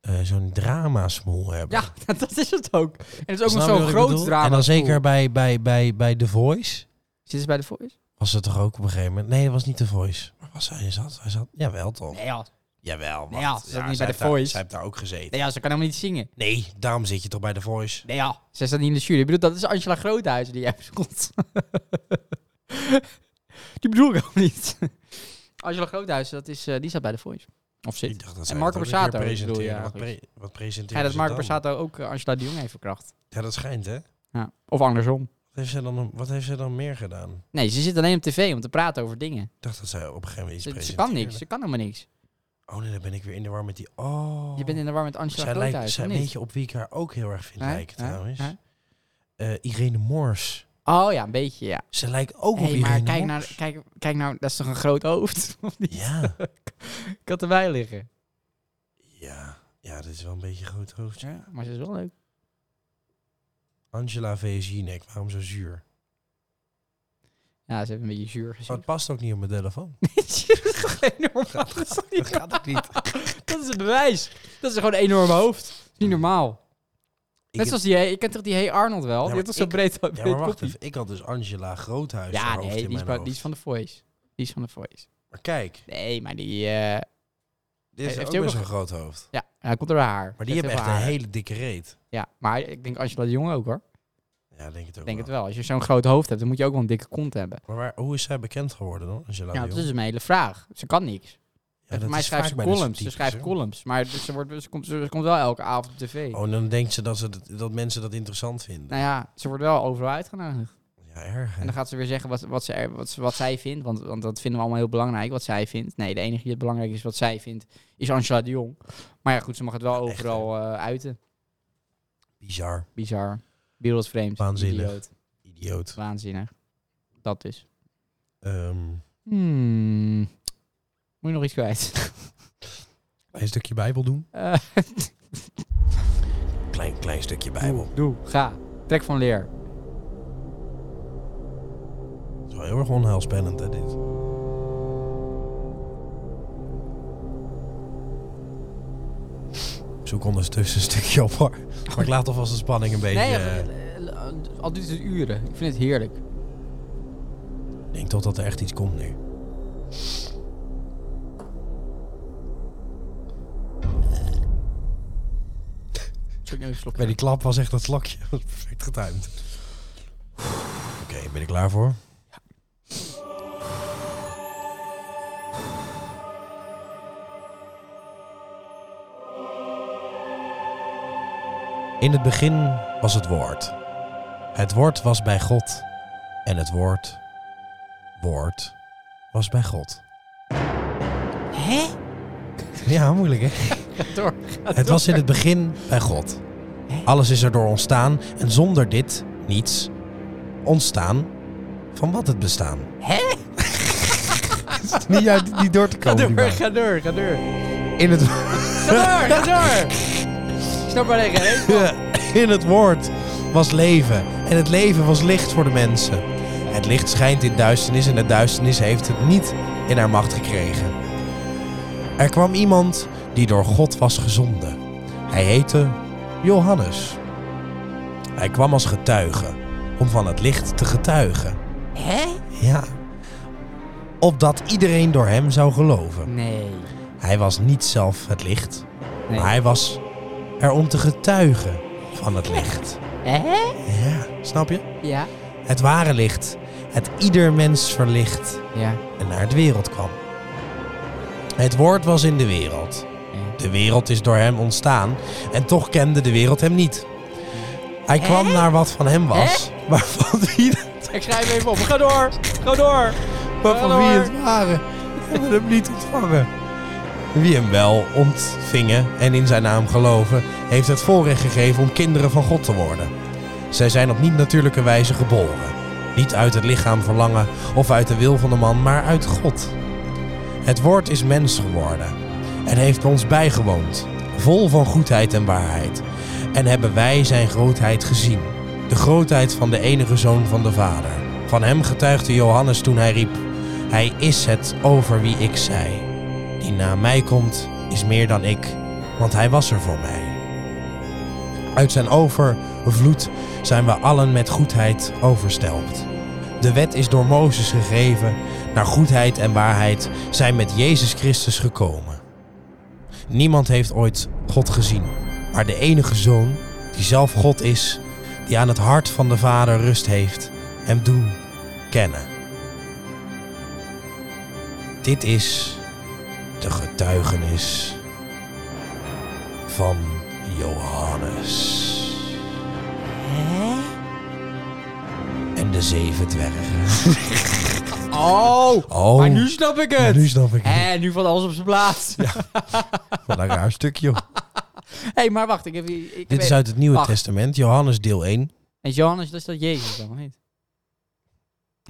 S2: eh zo'n drama-smoel hebben.
S1: Ja, dat is het ook. En het is ook
S2: Snap
S1: nog
S2: je
S1: zo'n
S2: wat ik
S1: groot
S2: bedoel?
S1: drama.
S2: En dan zeker
S1: Cool.
S2: bij, bij, bij, bij The Voice.
S1: Zit ze bij de Voice?
S2: Was het toch ook op een gegeven moment? Nee, dat was niet The Voice. Maar was hij zat? Hij zat. Jawel toch?
S1: Nee, ja.
S2: Jawel.
S1: Nee, ja, ze zat niet bij
S2: zij
S1: The
S2: heeft daar-
S1: Voice.
S2: Zij heeft daar ook gezeten.
S1: nee ja, ze kan helemaal niet zingen.
S2: Nee, daarom zit je toch bij The Voice.
S1: Nee, ja. Ze staat niet in de jury. Ik bedoel, dat is Angela Groothuizen die jij bedoelt. die bedoel ik ook niet. Angela Groothuizen, dat is, eh, die staat bij de Voice. Of
S2: Ik
S1: zit.
S2: dacht dat
S1: En
S2: zij
S1: Marco
S2: dat ook een keer
S1: Borsato, bedoel je
S2: presenteren. Wat,
S1: eigenlijk?
S2: pre wat presenteert
S1: Ja, dat Mark Borsato ook eh, Angela de Jong heeft verkracht.
S2: Ja, dat schijnt hè.
S1: Ja. Of andersom.
S2: Wat heeft, zij dan, wat heeft zij dan meer gedaan?
S1: Nee, ze zit alleen op tv om te praten over dingen.
S2: Ik dacht dat zij op een gegeven moment iets
S1: Ze, ze
S2: presenteerde.
S1: kan niks. Ze kan helemaal niks.
S2: Oh nee, dan ben ik weer in de war met die... Oh.
S1: Je bent in de war met Angela
S2: zij lijkt,
S1: Groothuizen.
S2: zij,
S1: of niet?
S2: Weet je op wie ik haar ook heel erg vind
S1: Hè?
S2: lijken
S1: Hè?
S2: trouwens?
S1: Hè?
S2: Eh, Irene Moors.
S1: Oh ja, een beetje, ja.
S2: Ze lijkt ook op
S1: Hey, maar
S2: Irene
S1: kijk
S2: Moors.
S1: nou, kijk, kijk nou, dat is toch een groot hoofd? Of niet?
S2: Ja.
S1: Ik had erbij liggen.
S2: Ja. ja, dit is wel een beetje een groot hoofdje.
S1: Ja, maar ze is wel leuk.
S2: Angela V. Zinek, waarom zo zuur?
S1: Ja, ze hebben een beetje zuur
S2: Maar
S1: gezien.
S2: het past ook niet op mijn telefoon.
S1: Het is gewoon enorm. Dat is, toch
S2: Dat
S1: niet,
S2: gaat ook niet.
S1: dat is het bewijs. Dat is gewoon een enorme hoofd. Dat is niet normaal.
S2: Ik
S1: Net zoals die, hey- je kent toch die Hey Arnold wel?
S2: maar
S1: die had toch zo
S2: ik-
S1: breed,
S2: Ja,
S1: breed
S2: maar wacht
S1: koppie?
S2: even. Ik had dus Angela Groothuis haar
S1: Ja,
S2: hoofd
S1: nee,
S2: in
S1: die is,
S2: mijn
S1: ba-
S2: hoofd.
S1: die is van The Voice. Die is van The Voice.
S2: Maar kijk,
S1: Nee, maar die... eh,
S2: dit is
S1: Heeft
S2: ook
S1: hij ook
S2: best
S1: nog-
S2: een groot hoofd.
S1: ja, hij komt door haar.
S2: Maar die
S1: Ze
S2: hebben
S1: heeft
S2: echt
S1: heel
S2: een
S1: veel haar.
S2: hele dikke reet.
S1: Ja, maar ik denk Angela de Jong ook hoor.
S2: Ja, denk het ook
S1: Ik denk
S2: wel.
S1: het wel. Als je zo'n groot hoofd hebt, dan moet je ook wel een dikke kont hebben.
S2: Maar waar- hoe is zij bekend geworden dan, Angela
S1: Ja,
S2: de
S1: dat
S2: Jong?
S1: is een hele vraag. Ze kan niks.
S2: Ja, dat
S1: En voor mij
S2: is
S1: schrijft
S2: vaak
S1: ze
S2: bij dit soort
S1: columns. Ze
S2: types,
S1: schrijft
S2: hè?
S1: columns. Maar ze, wordt, dus, ze, komt, ze komt wel elke avond op tv.
S2: Oh, en dan denkt ze dat, ze dat, dat mensen dat interessant vinden.
S1: Nou ja, ze wordt wel overal uitgenodigd.
S2: Ja, erg. hè?
S1: En dan gaat ze weer zeggen wat, wat, ze, er- wat, ze- wat zij vindt. Want, want dat vinden we allemaal heel belangrijk, wat zij vindt. Nee, de enige die het belangrijk is wat zij vindt, is Angela de Jong. Maar ja, goed, ze mag het wel
S2: Ja, echt,
S1: overal eh, uiten.
S2: Bizar.
S1: Bizar. Wereldvreemd.
S2: Waanzinnig.
S1: Idioot.
S2: Idioot.
S1: Waanzinnig. Dat dus.
S2: Ehm,
S1: Hmm. Moet je nog iets kwijt?
S2: een stukje Bijbel doen?
S1: Eh,
S2: Ehm, Klein, klein stukje Bijbel.
S1: Doe, ga. Trek van leer.
S2: Het is wel heel erg onheilspellend, hè, dit. Ik Zoek ondertussen een stukje op, hoor. Maar ik laat alvast de spanning een beetje...
S1: Nee,
S2: eh,
S1: eh, eh, al duurt het uren. Ik vind het heerlijk.
S2: Ik denk toch dat er echt iets komt nu.
S1: Zoek nou even een slokje.
S2: Bij die klap was echt dat slokje. Dat was perfect getimed. Oké, ben ik klaar voor? In het begin was het woord. Het woord was bij God. En het woord, woord, was bij God.
S1: Hè?
S2: Ja, moeilijk hè?
S1: Door.
S2: Het was in het begin bij God. Alles is erdoor ontstaan en zonder dit niets ontstaan van wat het bestaan. Hè? niet, uit, niet door te
S1: Ga
S2: komen. die
S1: door,
S2: baan.
S1: ga door, ga door.
S2: in, het,
S1: Ga door, ga door. Ik Snap maar tegen. hè?
S2: in het woord was leven en het leven was licht voor de mensen. Het licht schijnt in duisternis en de duisternis heeft het niet in haar macht gekregen. Er kwam iemand die door God was gezonden. Hij heette Johannes. Hij kwam als getuige om van het licht te getuigen. Hè? Ja. Opdat iedereen door hem zou geloven.
S1: Nee.
S2: Hij was niet zelf het licht,
S1: Nee.
S2: maar hij was er om te getuigen van het licht.
S1: Hè?
S2: Ja, snap je?
S1: Ja.
S2: Het ware licht, het ieder mens verlicht
S1: Ja.
S2: en naar het wereld kwam. Het woord was in de wereld. De wereld is door hem ontstaan en toch kende de wereld hem niet. Hij kwam naar wat van hem was, maar van wie,
S1: Ik schrijf even op. Ga door, ga door.
S2: maar van wie het waren, hebben hem niet ontvangen. Wie hem wel ontvingen en in zijn naam geloven, heeft het voorrecht gegeven om kinderen van God te worden. Zij zijn op niet-natuurlijke wijze geboren. Niet uit het lichaam verlangen of uit de wil van de man, maar uit God. Het woord is mens geworden en heeft ons bijgewoond, vol van goedheid en waarheid. En hebben wij zijn grootheid gezien, de grootheid van de enige zoon van de Vader. Van hem getuigde Johannes toen hij riep: Hij is het over wie ik zei. Die na mij komt, is meer dan ik, want hij was er voor mij. Uit zijn overvloed zijn we allen met goedheid overstelpt. De wet is door Mozes gegeven, naar goedheid en waarheid zijn met Jezus Christus gekomen. Niemand heeft ooit God gezien, maar de enige Zoon, die zelf God is, die aan het hart van de Vader rust heeft, hem doen kennen. Dit is de getuigenis van Johannes. En de zeven dwergen.
S1: Oh,
S2: Oh,
S1: maar nu snap ik
S2: ja,
S1: het.
S2: nu snap ik het.
S1: En nu valt alles op zijn plaats.
S2: Wat een raar stukje. joh.
S1: Hé, hey, maar wacht, ik heb hier... Ik
S2: Dit
S1: weet-
S2: is uit het Nieuwe
S1: Wacht.
S2: Testament, Johannes deel 1.
S1: En Johannes, dat is dat Jezus dan, of niet?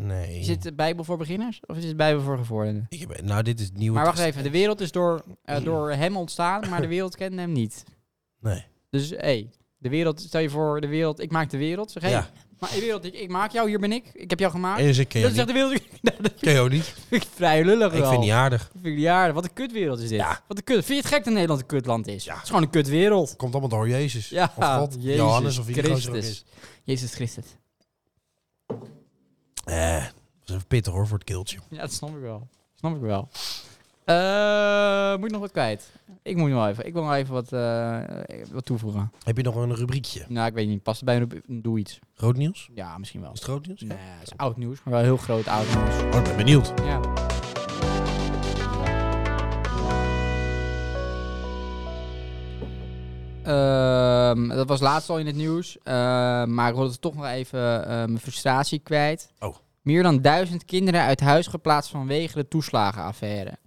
S2: Nee.
S1: Is dit de Bijbel voor beginners? Of is dit de Bijbel voor gevorderden?
S2: Ik heb, nou, dit is het Nieuwe
S1: Maar wacht even,
S2: Testament.
S1: de wereld is door, eh, door hem ontstaan, maar de wereld kende hem niet.
S2: Nee.
S1: Dus hé, de wereld, stel je voor, de wereld, ik maak de wereld. Zeg, hé,
S2: Ja.
S1: Maar hey, wereld, ik, ik maak jou, hier ben ik. Ik heb jou gemaakt.
S2: En dus ik ken
S1: dat
S2: jou
S1: is
S2: niet.
S1: echt de wereld. Nou, dat
S2: Ken jou niet.
S1: vind ik vrij
S2: Ik
S1: lullig wel.
S2: vind het niet aardig.
S1: Vind ik niet aardig. Wat een kutwereld is dit.
S2: Ja.
S1: Wat een kut. Vind je het gek dat Nederland een kutland is? Het is gewoon een kutwereld.
S2: Komt allemaal door Jezus.
S1: Ja,
S2: Of God.
S1: Jezus
S2: Johannes of wie die gozer ook
S1: Christus.
S2: is.
S1: Jezus Christus.
S2: Eh, dat is even pittig hoor voor het keeltje.
S1: Ja, dat snap ik wel. Snap ik wel. Eh, moet ik nog wat kwijt? Ik moet nog even. Ik wil nog even wat, eh, wat toevoegen.
S2: Heb je nog een rubriekje?
S1: Nou, ik weet niet. Past het bij een rubriek? Doe iets.
S2: Groot nieuws?
S1: Ja, misschien wel.
S2: Is het groot nieuws?
S1: Nee, het is oud nieuws, maar wel heel groot oud nieuws.
S2: Oh, ik ben benieuwd.
S1: Ja. Ehm, dat was laatst al in het nieuws. Ehm, maar ik wilde toch nog even eh, mijn frustratie kwijt.
S2: Oh.
S1: Meer dan duizend kinderen uit huis geplaatst vanwege de toeslagenaffaire.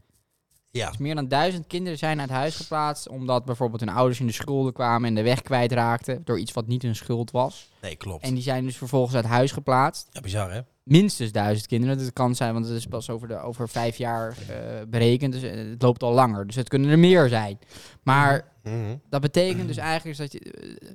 S2: Ja.
S1: Dus meer dan duizend kinderen zijn uit huis geplaatst omdat bijvoorbeeld hun ouders in de schulden kwamen en de weg kwijtraakten door iets wat niet hun schuld was.
S2: Nee, klopt.
S1: En die zijn dus vervolgens uit huis geplaatst.
S2: Ja, bizar hè?
S1: Minstens duizend kinderen. Dat kan zijn, want het is pas over, de, over vijf jaar eh, berekend. Dus eh, het loopt al langer. Dus het kunnen er meer zijn. Maar
S2: Mhm.
S1: dat betekent dus eigenlijk is dat je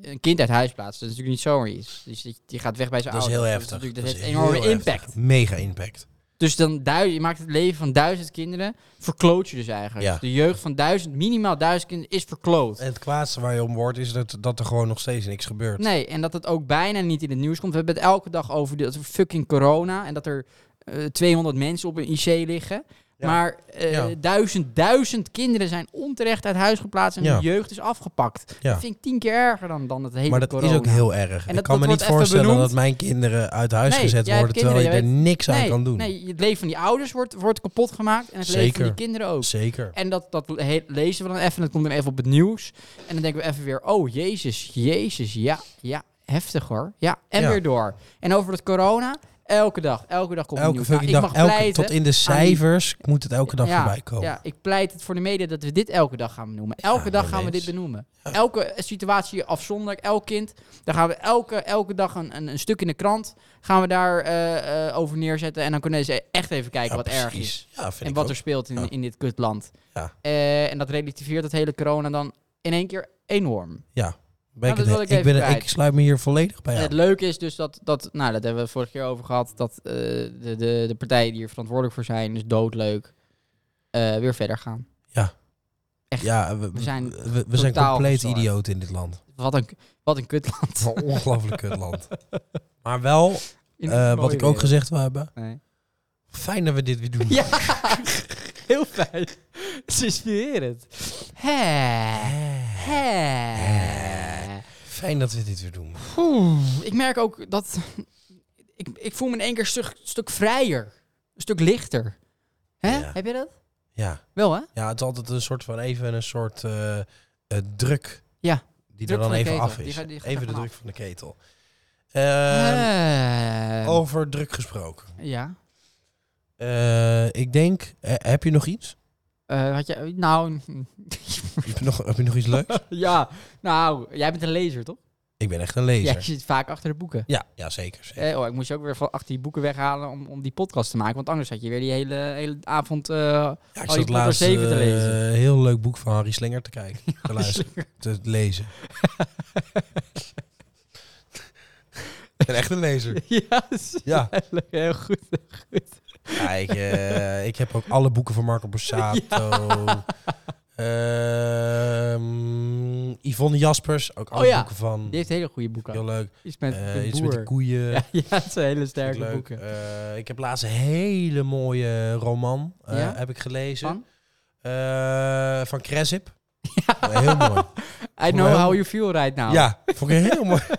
S1: eh, een kind uit huis plaatst. Dat is natuurlijk niet zomaar iets. Dus die, die gaat weg bij zijn
S2: Dat is
S1: ouders.
S2: heel
S1: is
S2: heftig.
S1: natuurlijk-
S2: Dat
S1: oh, dat
S2: is
S1: heeft
S2: heel
S1: enorme
S2: heftig.
S1: impact.
S2: Mega impact.
S1: Dus dan duiz- je maakt het leven van duizend kinderen, verkloot je dus eigenlijk.
S2: Ja.
S1: Dus De jeugd van duizend, minimaal duizend kinderen, is verkloot.
S2: En het kwaadste waar je om wordt is dat, dat er gewoon nog steeds niks gebeurt.
S1: Nee, en dat het ook bijna niet in het nieuws komt. We hebben het elke dag over dat fucking corona en dat er eh, 200 mensen op een IC liggen.
S2: Ja.
S1: Maar eh,
S2: Ja.
S1: duizend, duizend kinderen zijn onterecht uit huis geplaatst en
S2: Ja.
S1: de jeugd is afgepakt.
S2: Ja.
S1: Dat vind ik tien keer erger dan, dan het hele
S2: maar dat
S1: corona.
S2: is ook heel erg.
S1: En
S2: ik
S1: dat-
S2: kan me
S1: dat
S2: niet
S1: wordt even
S2: voorstellen
S1: benoemd.
S2: dat mijn kinderen uit huis
S1: Nee,
S2: gezet
S1: jij hebt
S2: worden terwijl je
S1: kinderen,
S2: er
S1: jij
S2: niks aan
S1: nee,
S2: kan doen.
S1: Nee, het leven van die ouders wordt, wordt kapot gemaakt en het leven van
S2: Zeker.
S1: die kinderen ook.
S2: Zeker.
S1: En dat, dat he- lezen we dan even. Dat komt dan even op het nieuws. En dan denken we even weer: oh jezus, jezus, ja, ja, heftig hoor. Ja, en
S2: Ja.
S1: weer door. En over het corona, elke dag, elke dag komt het
S2: elke
S1: nieuws.
S2: fucking
S1: Nou,
S2: dag,
S1: ik mag
S2: elke,
S1: pleiten
S2: tot in de cijfers moet het elke dag
S1: ja,
S2: voorbij komen.
S1: Ja, ik pleit het voor de media dat we dit elke dag gaan benoemen. Elke
S2: Ja,
S1: dag
S2: mee
S1: gaan we
S2: eens.
S1: dit benoemen. Elke eh, situatie afzonderlijk, elk kind. Daar gaan we elke, elke dag een, een, een stuk in de krant gaan we daar eh, eh, over neerzetten. En dan kunnen ze echt even kijken
S2: Ja,
S1: wat erg
S2: precies.
S1: is.
S2: Ja, vind
S1: En
S2: ik
S1: wat
S2: ook.
S1: er speelt in,
S2: Ja.
S1: in dit kutland.
S2: Ja.
S1: Eh, en dat relativeert het hele corona dan in één keer enorm.
S2: Ben ik
S1: Nou, dat
S2: het-
S1: wil ik
S2: ik,
S1: even
S2: ben,
S1: kwijt.
S2: ik sluit me hier volledig bij
S1: En
S2: aan.
S1: het leuke is dus dat, dat nou, dat hebben we vorige keer over gehad, dat eh, de, de, de partijen die er verantwoordelijk voor zijn, dus doodleuk, eh, weer verder gaan. echt.
S2: Ja, we,
S1: We zijn
S2: we- we, zijn
S1: totaal
S2: compleet
S1: gestoord.
S2: idioot in dit land.
S1: Wat een, wat een kutland.
S2: Een ongelooflijk kut land. Maar wel,
S1: In
S2: eh,
S1: een mooie
S2: wat ik ook
S1: wereld.
S2: gezegd wil hebben,
S1: Nee.
S2: fijn dat we dit weer doen.
S1: Ja, heel fijn. Het is inspirerend. Hè. Hè.
S2: Eh, Fijn dat we dit weer doen.
S1: Oeh, ik merk ook dat. Ik, ik voel me in één keer een stuk, stuk vrijer. Een stuk lichter. Hè?
S2: Ja.
S1: Heb je dat?
S2: Ja.
S1: Wel, hè?
S2: ja, het is altijd een soort van even een soort eh, eh, druk
S1: Ja.
S2: die
S1: Druk
S2: er dan
S1: van de
S2: even
S1: ketel.
S2: af
S1: Die
S2: is.
S1: gaat- die gaat er
S2: even de
S1: vanaf.
S2: druk van de ketel. Ehm, oh.
S1: Eh,
S2: over druk gesproken.
S1: Ja.
S2: Eh, ik denk, eh, heb je nog iets?
S1: Eh, had je, nou,
S2: heb, je nog, heb je nog iets leuks?
S1: ja, nou, jij bent een lezer, toch?
S2: ik ben echt een
S1: Ja,
S2: lezer.
S1: je zit vaak achter de boeken.
S2: Ja, ja zeker. zeker.
S1: Eh, oh, ik moest je ook weer van achter die boeken weghalen om, om die podcast te maken. Want anders had je weer die hele, hele avond... eh,
S2: Ja, ik
S1: Harry
S2: zat
S1: Potter
S2: laatst eh,
S1: zeven te lezen.
S2: een heel leuk boek van Harry Slinger te kijken. te luisteren, te lezen. ik ben echt een lezer.
S1: ja, dat is
S2: Ja.
S1: eigenlijk heel goed. goed.
S2: Ja, ik, eh, ik heb ook alle boeken van Marco Borsato. Ehm, Yvonne Jaspers, ook alle
S1: Oh ja,
S2: boeken van.
S1: Die heeft hele goede boeken.
S2: Heel leuk.
S1: Iets met
S2: Eh,
S1: de
S2: iets met de
S1: boer.
S2: koeien.
S1: Ja, ja, het zijn hele sterke
S2: Leuk.
S1: boeken.
S2: Eh, ik heb laatst een hele mooie roman eh,
S1: Ja?
S2: heb ik gelezen.
S1: Van?
S2: Eh, van Kresip. Ja, heel mooi.
S1: I know
S2: Wel-
S1: how you feel right now.
S2: Ja, vond ik heel mooi.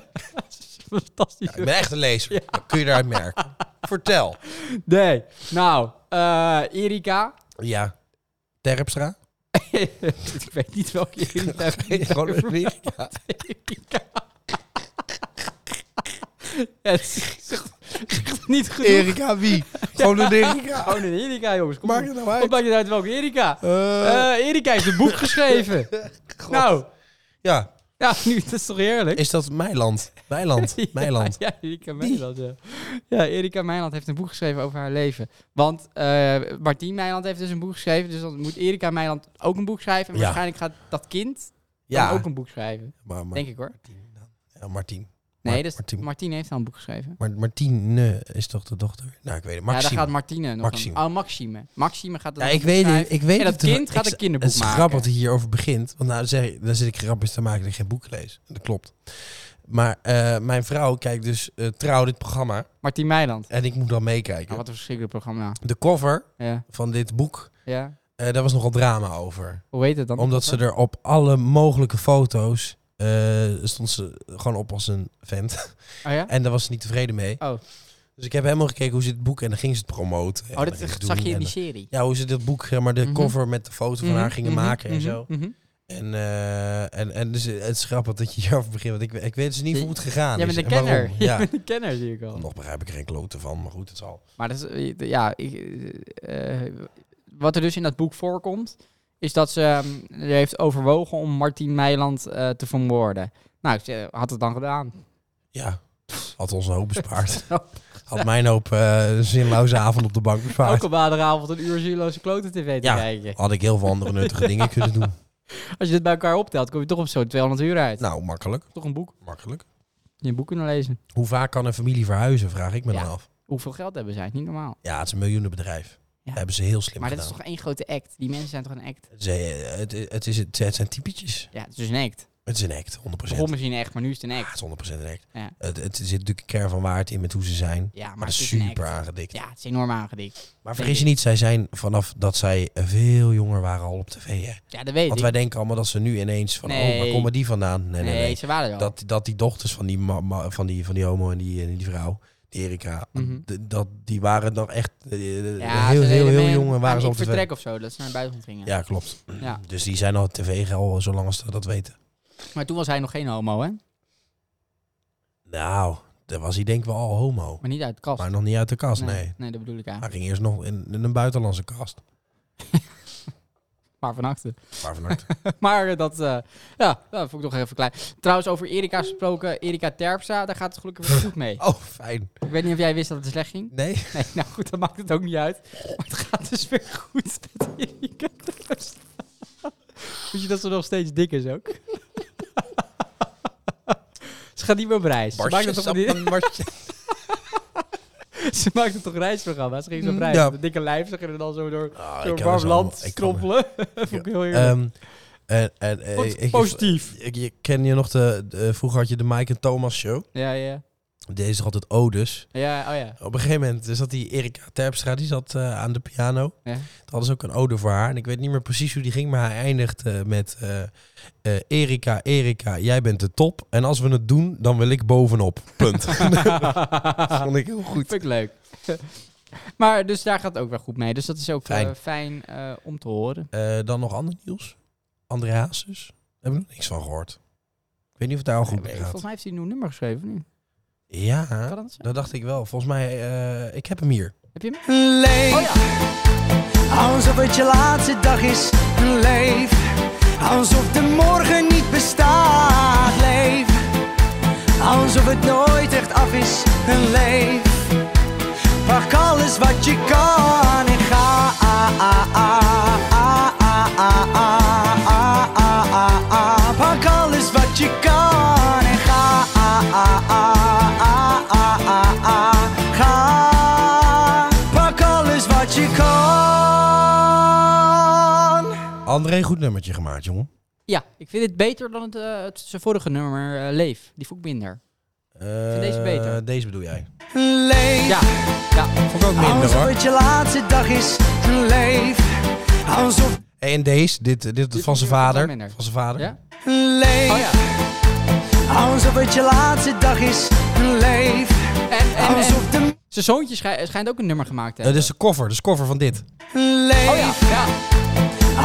S1: Fantastisch.
S2: ik ben echt een lezer. Dat kun je eruit merken. Vertel.
S1: Nee. Nou, eh Erika.
S2: Ja. Terpstra.
S1: ik weet niet welke Erika.
S2: Gewoon een weer. Ja.
S1: Erika. Het is echt niet genoeg.
S2: Erika wie? Gewoon een Erika.
S1: Gewoon een Erika, jongens. Kom
S2: Maakt
S1: op.
S2: het nou uit?
S1: Wat maakt het uit welke Erika?
S2: Eh,
S1: Eh Erika heeft een boek geschreven. Nou,
S2: ja,
S1: ja, nu, dat is toch heerlijk?
S2: is dat Meiland? Meiland, Meiland.
S1: Ja, ja, Erika Meiland, ja. Ja, Erika Meiland heeft een boek geschreven over haar leven. Want eh Martien Meiland heeft dus een boek geschreven. Dus dan moet Erika Meiland ook een boek schrijven. En
S2: Ja.
S1: waarschijnlijk gaat dat kind dan
S2: Ja,
S1: ook een boek schrijven.
S2: maar, maar,
S1: Denk ik hoor.
S2: ja Martien.
S1: Nee, dat is,
S2: Martine.
S1: Martine. heeft al een boek geschreven.
S2: Maar Martine eh, is toch de dochter? Nou, ik weet het. Maxime.
S1: Ja, daar gaat Martine nog
S2: Maxime.
S1: Een, oh, Maxime. Maxime gaat dat
S2: Ja,
S1: nog
S2: ik
S1: een boek
S2: weet het.
S1: schrijven.
S2: Ik weet
S1: en dat
S2: het.
S1: kind gaat
S2: Ik-
S1: een kinderboek
S2: Het is
S1: maken.
S2: grappig dat je hierover begint. Want nou, dan, zeg, je- dan zit ik grapjes te maken dat ik geen boeken lees. Dat klopt. Maar eh, mijn vrouw kijkt dus eh, trouw dit programma.
S1: Martien Meiland.
S2: En ik moet dan meekijken.
S1: Ah, wat een verschrikkelijk programma.
S2: De cover
S1: Ja,
S2: van dit boek,
S1: ja.
S2: eh, daar was nogal drama over.
S1: Hoe heet het dan?
S2: Omdat ze er op alle mogelijke foto's eh, stond ze gewoon op als een vent.
S1: Oh ja?
S2: En daar was ze niet tevreden mee.
S1: Oh.
S2: Dus ik heb helemaal gekeken hoe ze het boek en dan ging ze het promoten. En
S1: Oh,
S2: dan
S1: dat
S2: ging ze
S1: zag
S2: doen
S1: je in
S2: en
S1: die serie.
S2: Ja, hoe ze dat boek, zeg maar de
S1: Mhm.
S2: cover met de foto van haar gingen maken en zo. En, eh, en, en dus eh, het is grappig dat je hierover begint, want ik, ik weet dus niet
S1: Je-
S2: hoe het gegaan
S1: Jij
S2: is.
S1: bent een
S2: en waarom.
S1: kenner. Jij
S2: Ja. Oh,
S1: bent een kenner, zie ik al.
S2: Nog begrijp ik er geen klote van, maar goed, het zal.
S1: Maar dat is, eh, ja, ik, eh, eh, wat er dus in dat boek voorkomt, is dat ze ehm, er heeft overwogen om Martien Meiland eh, te vermoorden. Nou, ze had het dan gedaan.
S2: Ja, had ons een hoop bespaard. Had mijn hoop eh, zinloze avond op de bank bespaard.
S1: Elke waderavond een uur zieloze kloten tv te
S2: Ja.
S1: kijken.
S2: Had ik heel veel andere nuttige dingen kunnen doen.
S1: Als je dit bij elkaar optelt, kom je toch op zo'n 200 uur uit.
S2: Nou, makkelijk.
S1: Toch een boek.
S2: Makkelijk.
S1: Je een boek kunnen lezen.
S2: Hoe vaak kan een familie verhuizen, vraag ik me
S1: Ja.
S2: dan af.
S1: Hoeveel geld hebben zij? Niet normaal.
S2: Ja, nou. het is een miljoenenbedrijf.
S1: Ja.
S2: Dat hebben ze heel slim
S1: Maar dit is
S2: gedaan.
S1: toch één grote act? Die mensen zijn toch een act?
S2: Het, is, eh, het, het, is, het, het zijn typetjes.
S1: Ja, het is dus een act.
S2: Het is een act, 100%.
S1: Begon misschien echt, maar nu is het een
S2: Ja,
S1: act.
S2: het is 100% een act.
S1: Ja.
S2: Het, het zit natuurlijk een kern van waard in met hoe ze zijn. Maar,
S1: Ja, maar,
S2: dat
S1: het
S2: is
S1: is een
S2: super
S1: act.
S2: aangedikt.
S1: Ja, het is enorm aangedikt.
S2: maar
S1: denk
S2: vergis je
S1: ik.
S2: niet, zij zijn vanaf dat zij veel jonger waren al op tv. Hè?
S1: Ja, dat weet
S2: Want
S1: ik.
S2: wij denken allemaal dat ze nu ineens van, oh, waar
S1: Nee.
S2: komen die vandaan? Nee, nee,
S1: nee,
S2: nee.
S1: ze waren er al.
S2: Dat, dat die dochters van die, ma- ma- van die, van die homo en die, en die vrouw, die Erika,
S1: Mhm.
S2: d- dat, die waren nog echt eh,
S1: ja,
S2: heel,
S1: ze
S2: heel,
S1: deden
S2: heel
S1: mee
S2: jong en
S1: aan
S2: waren ze
S1: Ik
S2: op tv.
S1: vertrek of zo, dat ze naar het buitenland gingen.
S2: Ja, klopt.
S1: Ja.
S2: Dus die zijn al tv al zolang als ze dat weten.
S1: Maar toen was hij nog geen homo, hè?
S2: Nou, daar was hij denk ik wel al homo.
S1: Maar niet uit de kast.
S2: Maar nog niet uit de kast, nee.
S1: nee. dat bedoel ik
S2: Hij
S1: eigenlijk.
S2: ging eerst nog in, in een buitenlandse kast.
S1: Maar van achter.
S2: Waar van harte.
S1: Maar eh, dat, eh, ja, dat vond ik nog even klein. Trouwens, over Erika gesproken. Erika Terpstra, daar gaat het gelukkig weer goed mee.
S2: Oh, fijn.
S1: Ik weet niet of jij wist dat het slecht ging.
S2: Nee?
S1: Nee, nou goed, dat maakt het ook niet uit. Maar het gaat dus weer goed met Erika Terpstra. Weet je dat ze nog steeds dik is ook? ze gaat niet meer op reis. Ze maakt, het toch niet, ze maakt het toch reisprogramma's? Ze ging zo op reis.
S2: Mm, Ja.
S1: met een dikke lijf, ze gingen dan zo door,
S2: Ah, ik
S1: door
S2: kan
S1: warm
S2: ze
S1: land
S2: allemaal- ik kan
S1: strompelen. Vond ik heel heerlijk.
S2: Ehm, en, en, eh,
S1: Wat
S2: ik-
S1: positief.
S2: Ik, ik- ken je nog de, de- Vroeger had je de Mike en Thomas show.
S1: Ja, ja.
S2: Deze is altijd Odus.
S1: Ja, oh ja.
S2: Op een gegeven moment zat die Erika Terpstra, die zat eh, aan de piano.
S1: Ja.
S2: Toen hadden ze ook een ode voor haar. En ik weet niet meer precies hoe die ging, maar hij eindigt eh, met... eh, eh, Erika, Erika, jij bent de top. En als we het doen, dan wil ik bovenop. Punt. Vond ik heel goed.
S1: Vind ik leuk. maar dus daar gaat het ook wel goed mee. Dus dat is ook eh,
S2: Fijn.
S1: fijn, eh, om te horen.
S2: Eh, dan nog ander nieuws. André Hazes. Daar heb ik nog niks van gehoord. Ik weet niet of het daar al goed mee gaat.
S1: Volgens mij heeft hij een nieuw nummer geschreven nu. Kan
S2: Ja,
S1: dat zijn?
S2: dat dacht ik wel. Volgens mij, eh, ik heb hem hier.
S1: Heb je hem?
S3: Leef, alsof het je laatste dag is. Leef, alsof de morgen niet bestaat. Leef, alsof het nooit echt af is. Leef, pak alles wat je kan en ga. Pak alles wat je kan en ga. Ga, pak alles wat je kan.
S2: André, goed nummertje gemaakt, jongen.
S1: Ja, ik vind het beter dan het, eh, het- zijn vorige nummer, eh, Leef. Die vond ik minder.
S2: Eh,
S1: deze beter.
S2: Deze bedoel jij.
S3: Leef.
S1: Ja, ja.
S2: Vond ik ook minder,
S3: Alsof
S2: hoor.
S3: het je laatste dag is, leef. Alsof
S2: En deze, dit, eh, dit, van
S1: vond
S2: zijn
S1: ik ook
S2: vader.
S1: minder.
S2: Van zijn vader.
S1: ja?
S3: leef.
S1: Oh ja.
S3: Alsof het je laatste dag is, leef.
S1: En,
S2: Oh,
S1: en, en
S3: Alsof de
S1: zijn zoontje schij- schijnt ook een nummer gemaakt te
S2: Eh, dit
S1: hebben.
S2: is de cover, dus cover van dit.
S3: leef.
S1: Oh ja, ja.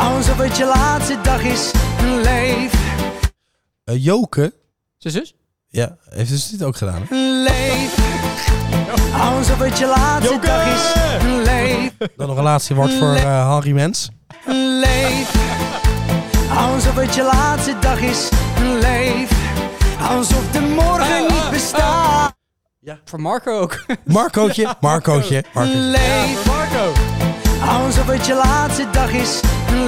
S3: Alsof het je laatste dag is, leef.
S2: Eh, Joke,
S1: Zijn zus?
S2: ja, heeft dus dit ook gedaan. hè?
S3: Leef. Alsof het je laatste dag is, leef.
S2: Dan nog een laatste woord voor eh Harry Mens.
S3: Leef. Alsof het je laatste dag is, leef. Alsof de morgen niet bestaat,
S1: Voor Marco ook.
S2: Marcootje, Marcootje, Marcootje.
S3: leef.
S1: Marco.
S3: Alsof het je laatste dag is,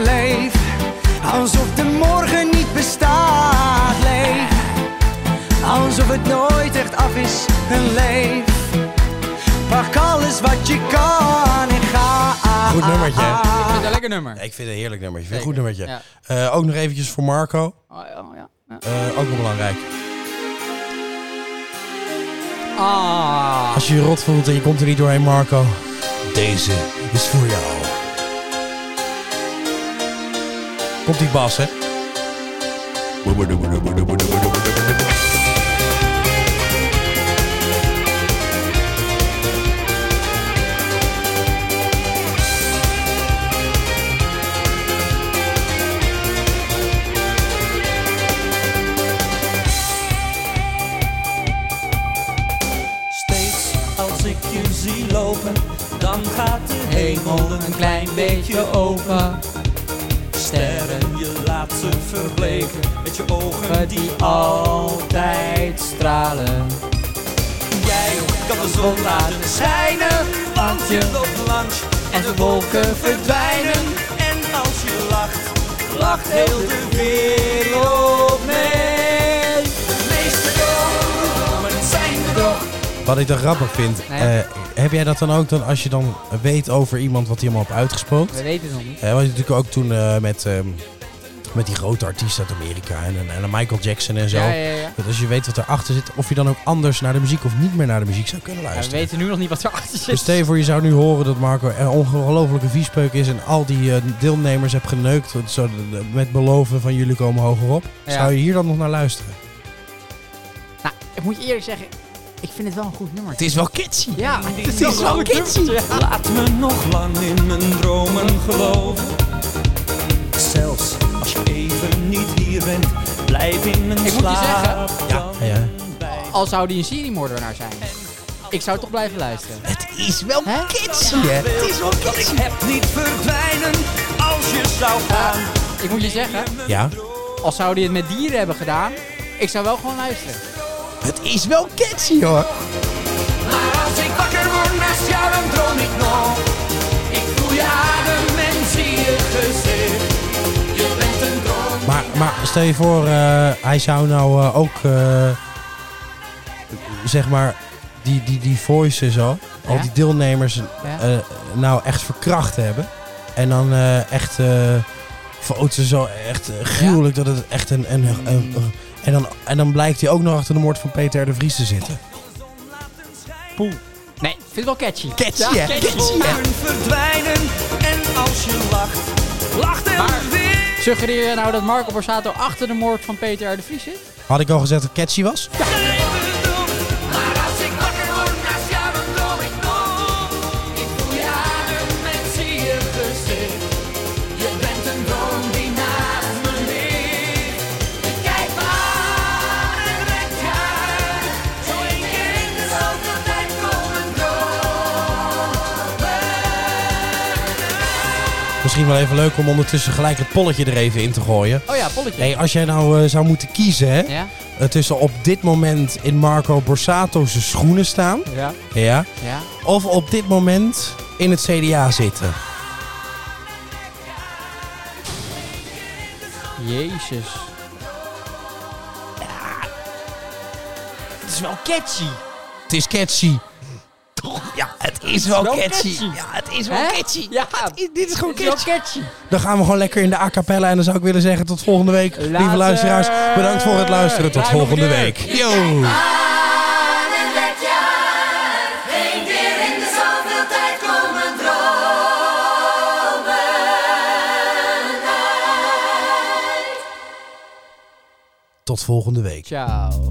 S3: leef. Alsof de morgen niet bestaat, leef. alsof het nooit echt af is, een leef. Pak alles wat je kan en ga.
S2: Goed nummertje, hè?
S1: Ik vind het een lekker nummer.
S2: Ik vind het een heerlijk nummertje. Ik vind het
S1: Zeker.
S2: een goed nummertje.
S1: Ja.
S2: Eh, ook nog eventjes voor Marco.
S1: Oh, ja, ja, ja.
S2: Eh, ook nog belangrijk.
S1: Ah.
S2: Als je je rot voelt en je komt er niet doorheen, Marco. Deze is voor jou. Komt die bas, hè?
S9: Steeds als ik je zie lopen, dan gaat de hemel een klein beetje open. Sterren, je laat ze verbleken met je
S5: oh,
S9: ogen die altijd stralen. Jij kan de zon laten schijnen, want je loopt langs en de wolken verdwijnen. En als je lacht, lacht heel de wereld mee. De meeste dromen zijn er nog.
S2: Wat ik dan grappig vind.
S1: Nee.
S2: eh, heb jij dat dan ook dan als je dan weet over iemand wat hij helemaal heeft uitgespookt?
S1: We weten het nog niet.
S2: Eh, was je natuurlijk ook toen eh, met, ehm, met die grote artiesten uit Amerika en, en, en Michael Jackson en zo.
S1: Ja, ja, ja.
S2: Dat als je weet wat erachter zit, of je dan ook anders naar de muziek of niet meer naar de muziek zou kunnen
S1: Ja, we
S2: luisteren.
S1: weten nu nog niet wat erachter
S2: dus
S1: zit.
S2: stel je voor, je zou nu horen dat Marco een ongelofelijke viespeuk is en al die eh, deelnemers hebt geneukt zo, met beloven van jullie komen hogerop.
S1: Ja.
S2: Zou je hier dan nog naar luisteren?
S1: Nou, ik moet je eerlijk zeggen, ik vind het wel een goed nummer.
S2: is wel kitschy.
S1: Ja, het is, wel een
S9: kitschy. Laat me nog lang in mijn dromen geloven. Zelfs als je even niet hier bent, blijf in mijn
S1: Ik moet je
S9: slaap.
S2: Ja, ja.
S1: Al zou die een seriemoordenaar zijn. Ik zou toch blijven luisteren.
S2: Het is wel
S1: Hè?
S2: kitschy, hè? Het is wel kitschy.
S9: Heb niet verdwijnen als je zou gaan.
S1: Ik moet je zeggen,
S2: Ja,
S1: al zou die het met dieren hebben gedaan, ik zou wel gewoon luisteren.
S2: het is wel catchy hoor.
S9: Maar als ik wakker word naast jou, dan droom ik nog. Ik voel je adem en zie je gezicht. Je bent een droom.
S2: Maar, maar stel je voor, eh, hij zou nou eh, ook, eh, zeg maar, die, die, die voice en zo, al
S1: Ja.
S2: die deelnemers,
S1: Ja.
S2: eh, nou echt verkracht hebben. En dan eh, echt, eh veroogt ze zo echt eh, gruwelijk dat het echt een... een, een- een- en, dan, en dan blijkt hij ook nog achter de moord van Peter R. de Vries te zitten.
S1: Nee, ik vind het wel catchy.
S2: Catchy, hè? Catchy, hè?
S9: verdwijnen en als je lacht, lacht er weer.
S1: Suggereer je nou dat Marco Borsato achter de moord van Peter R. de Vries zit?
S2: Had ik al gezegd dat het catchy was?
S9: Maar als ik wakker word naast jou, dan droom ik nog. Ik voel je adem en zie je gezicht. Je bent een droom die naast me ligt. Ik kijk maar en rek je uit. Zo één keer in de zoveel tijd komen
S2: Misschien wel even leuk om ondertussen gelijk het polletje er even in te gooien.
S1: Oh ja, polletje.
S2: Hey, als jij nou eh, zou moeten kiezen, hè?
S1: Ja?
S2: Eh, tussen op dit moment in Marco Borsato's schoenen staan.
S1: Ja?
S2: Ja.
S1: Ja?
S2: Of op dit moment in het CDA zitten.
S1: Jezus. Het is wel catchy.
S2: Het is catchy. Ja, het is wel
S1: wel
S2: catchy.
S1: catchy.
S2: Ja, het is wel
S1: Hè?
S2: catchy.
S1: Ja.
S2: het is- dit is gewoon
S1: Het is wel
S2: catchy.
S1: catchy.
S2: Dan gaan we gewoon lekker in de a cappella. En dan zou ik willen zeggen tot volgende week. Lieve
S1: Later.
S2: luisteraars, bedankt voor het luisteren. Tot
S1: Ruim op de
S2: volgende
S1: deur.
S2: week. Yo.
S9: Eén keer in de zoveel tijd komen dromen.
S2: Tot volgende week.
S1: Ciao.